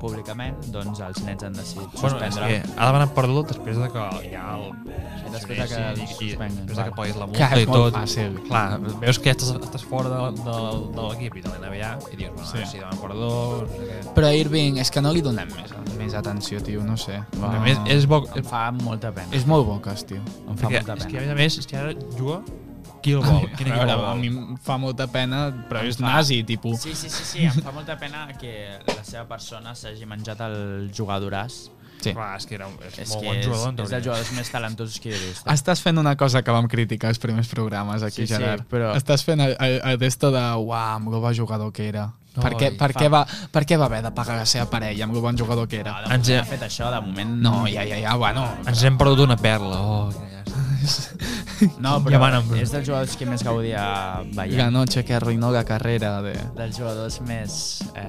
Speaker 1: públicament, doncs els nets han decidit
Speaker 3: Bueno, és
Speaker 1: suspendre.
Speaker 3: que ha demanat perdó després de que ja el...
Speaker 1: Sí, després de que el
Speaker 3: i- i,
Speaker 1: suspenguen,
Speaker 3: després de que
Speaker 1: vale.
Speaker 3: paguis la
Speaker 2: Que
Speaker 3: multa
Speaker 2: és
Speaker 3: i
Speaker 2: molt
Speaker 3: tot.
Speaker 2: fàcil.
Speaker 3: Clar, veus que estàs, estàs fora de, de, de l'equip i de l'NBA i dius, bueno,
Speaker 2: Sí.
Speaker 3: sí. si demana perdó, no sé què.
Speaker 2: Però a Irving, és que no li donem més, més atenció, tio, no sé.
Speaker 1: Va.
Speaker 3: A més, és bo...
Speaker 1: Em fa molta pena.
Speaker 2: És molt boques, tio.
Speaker 1: Em fa
Speaker 3: Perquè,
Speaker 1: molta
Speaker 3: és que,
Speaker 1: pena.
Speaker 3: a més a més, és que ara juga qui el vol, quin equip el
Speaker 2: a mi
Speaker 3: vol.
Speaker 2: em fa molta pena, però és nazi, tipus.
Speaker 1: Sí, sí, sí, sí, em fa molta pena que la seva persona s'hagi menjat el jugadoràs.
Speaker 2: Sí.
Speaker 3: Clar, és que era un, és
Speaker 1: És
Speaker 3: molt
Speaker 1: que
Speaker 3: bon
Speaker 1: és,
Speaker 3: jugador. en
Speaker 1: és dels
Speaker 3: teoria.
Speaker 1: jugadors més talentosos que he vist. eh?
Speaker 2: Estàs fent una cosa que vam criticar els primers programes
Speaker 1: Sí,
Speaker 2: aquí,
Speaker 1: sí,
Speaker 2: Gerard.
Speaker 1: però-
Speaker 2: Estàs fent el, el, el desto de uah, amb el bon jugador que era.
Speaker 3: No,
Speaker 2: per, què,
Speaker 3: i
Speaker 2: per,
Speaker 3: fa-
Speaker 2: què va, per què va haver de pagar la seva parella amb el bon jugador que era?
Speaker 1: No, de moment
Speaker 3: Ens
Speaker 1: no
Speaker 3: he-
Speaker 1: ha fet això, de moment...
Speaker 2: No, ja, ja, ja, bueno.
Speaker 3: Ens hem perdut una perla. Oh, que llàstima.
Speaker 1: No,
Speaker 3: Quin
Speaker 1: però
Speaker 3: diamant, Bruno.
Speaker 1: és dels jugadors que més gaudia veient.
Speaker 2: La noche que arruinó la carrera de...
Speaker 1: dels jugadors més eh,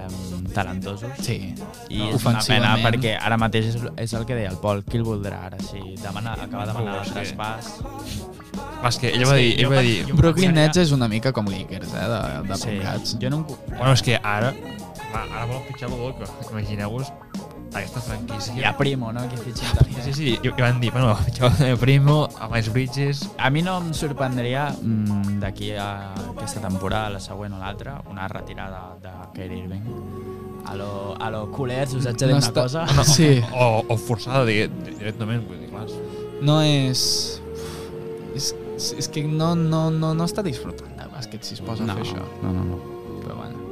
Speaker 1: talentosos
Speaker 2: Sí.
Speaker 1: i és una pena
Speaker 2: Ofensivament.
Speaker 1: perquè ara mateix és, és el que deia el Pol qui el voldrà ara si demana, acaba de demanar
Speaker 3: Oh,
Speaker 1: el
Speaker 3: sí.
Speaker 1: traspàs
Speaker 3: Va, és que ell va dir, ell va dir,
Speaker 2: Brooklyn Nets és una mica com Lakers, eh, de, de sí.
Speaker 1: sí, jo no em... cu-
Speaker 3: Bueno, és que ara... Va, ara volen fitxar el Boca. Imagineu-vos aquesta
Speaker 1: hi ha
Speaker 3: franquícia.
Speaker 1: Primo no? que fitxin també.
Speaker 3: Sí, sí, i, i van dir, bueno, fitxeu el Primo, a Miles Bridges...
Speaker 1: a mi no em sorprendria mm, d'aquí a aquesta temporada la següent o l'altra una retirada de Kyrie Irving a lo, a lo culers us haig de dir
Speaker 2: No
Speaker 1: una
Speaker 2: està-
Speaker 1: cosa
Speaker 2: no. Sí.
Speaker 3: O, o forçada digue, directament, vull dir, clar.
Speaker 2: No és... És, és que no, no, no, no està disfrutant del bàsquet si es posa
Speaker 1: no,
Speaker 2: a fer això.
Speaker 1: no, no, no.
Speaker 2: Però bueno.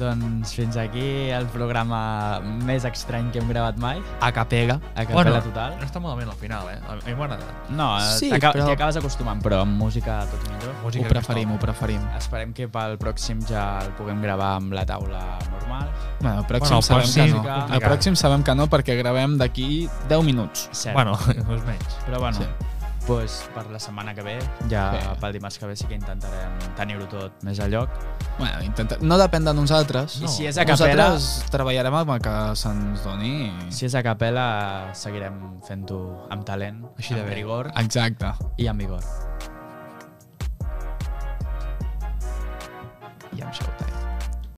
Speaker 1: doncs fins aquí el programa més estrany que hem gravat mai.
Speaker 2: a capella.
Speaker 1: A capella
Speaker 3: Bueno,
Speaker 1: total.
Speaker 3: no està malament al final, eh? A mi m'ha agradat.
Speaker 1: No,
Speaker 2: Sí,
Speaker 1: sí, t'aca-
Speaker 2: però-
Speaker 1: t'hi acabes acostumant, però amb música tot millor.
Speaker 3: Música
Speaker 2: Ho preferim, ho preferim.
Speaker 1: Esperem que pel pròxim ja el puguem gravar amb la taula normal.
Speaker 2: Bueno, el pròxim
Speaker 3: Bueno, el
Speaker 2: sabem
Speaker 3: pròxim-
Speaker 2: que no.
Speaker 1: complicat.
Speaker 2: El pròxim sabem que no perquè gravem d'aquí 10 minuts.
Speaker 1: Cert.
Speaker 3: Bueno, més menys.
Speaker 1: Però bueno,
Speaker 2: Sí.
Speaker 1: sí. pues, per la setmana que ve, ja
Speaker 2: Sí.
Speaker 1: pel dimarts que ve sí que intentarem tenir-ho tot més a lloc.
Speaker 2: Bueno, intenta... No depèn de nosaltres.
Speaker 1: I si és a capella,
Speaker 2: Nosaltres treballarem amb el que se'ns doni.
Speaker 1: si és a capella, seguirem fent-ho amb talent,
Speaker 3: Així de
Speaker 1: amb
Speaker 3: bé.
Speaker 1: rigor
Speaker 2: Exacte.
Speaker 1: i amb vigor.
Speaker 2: I amb això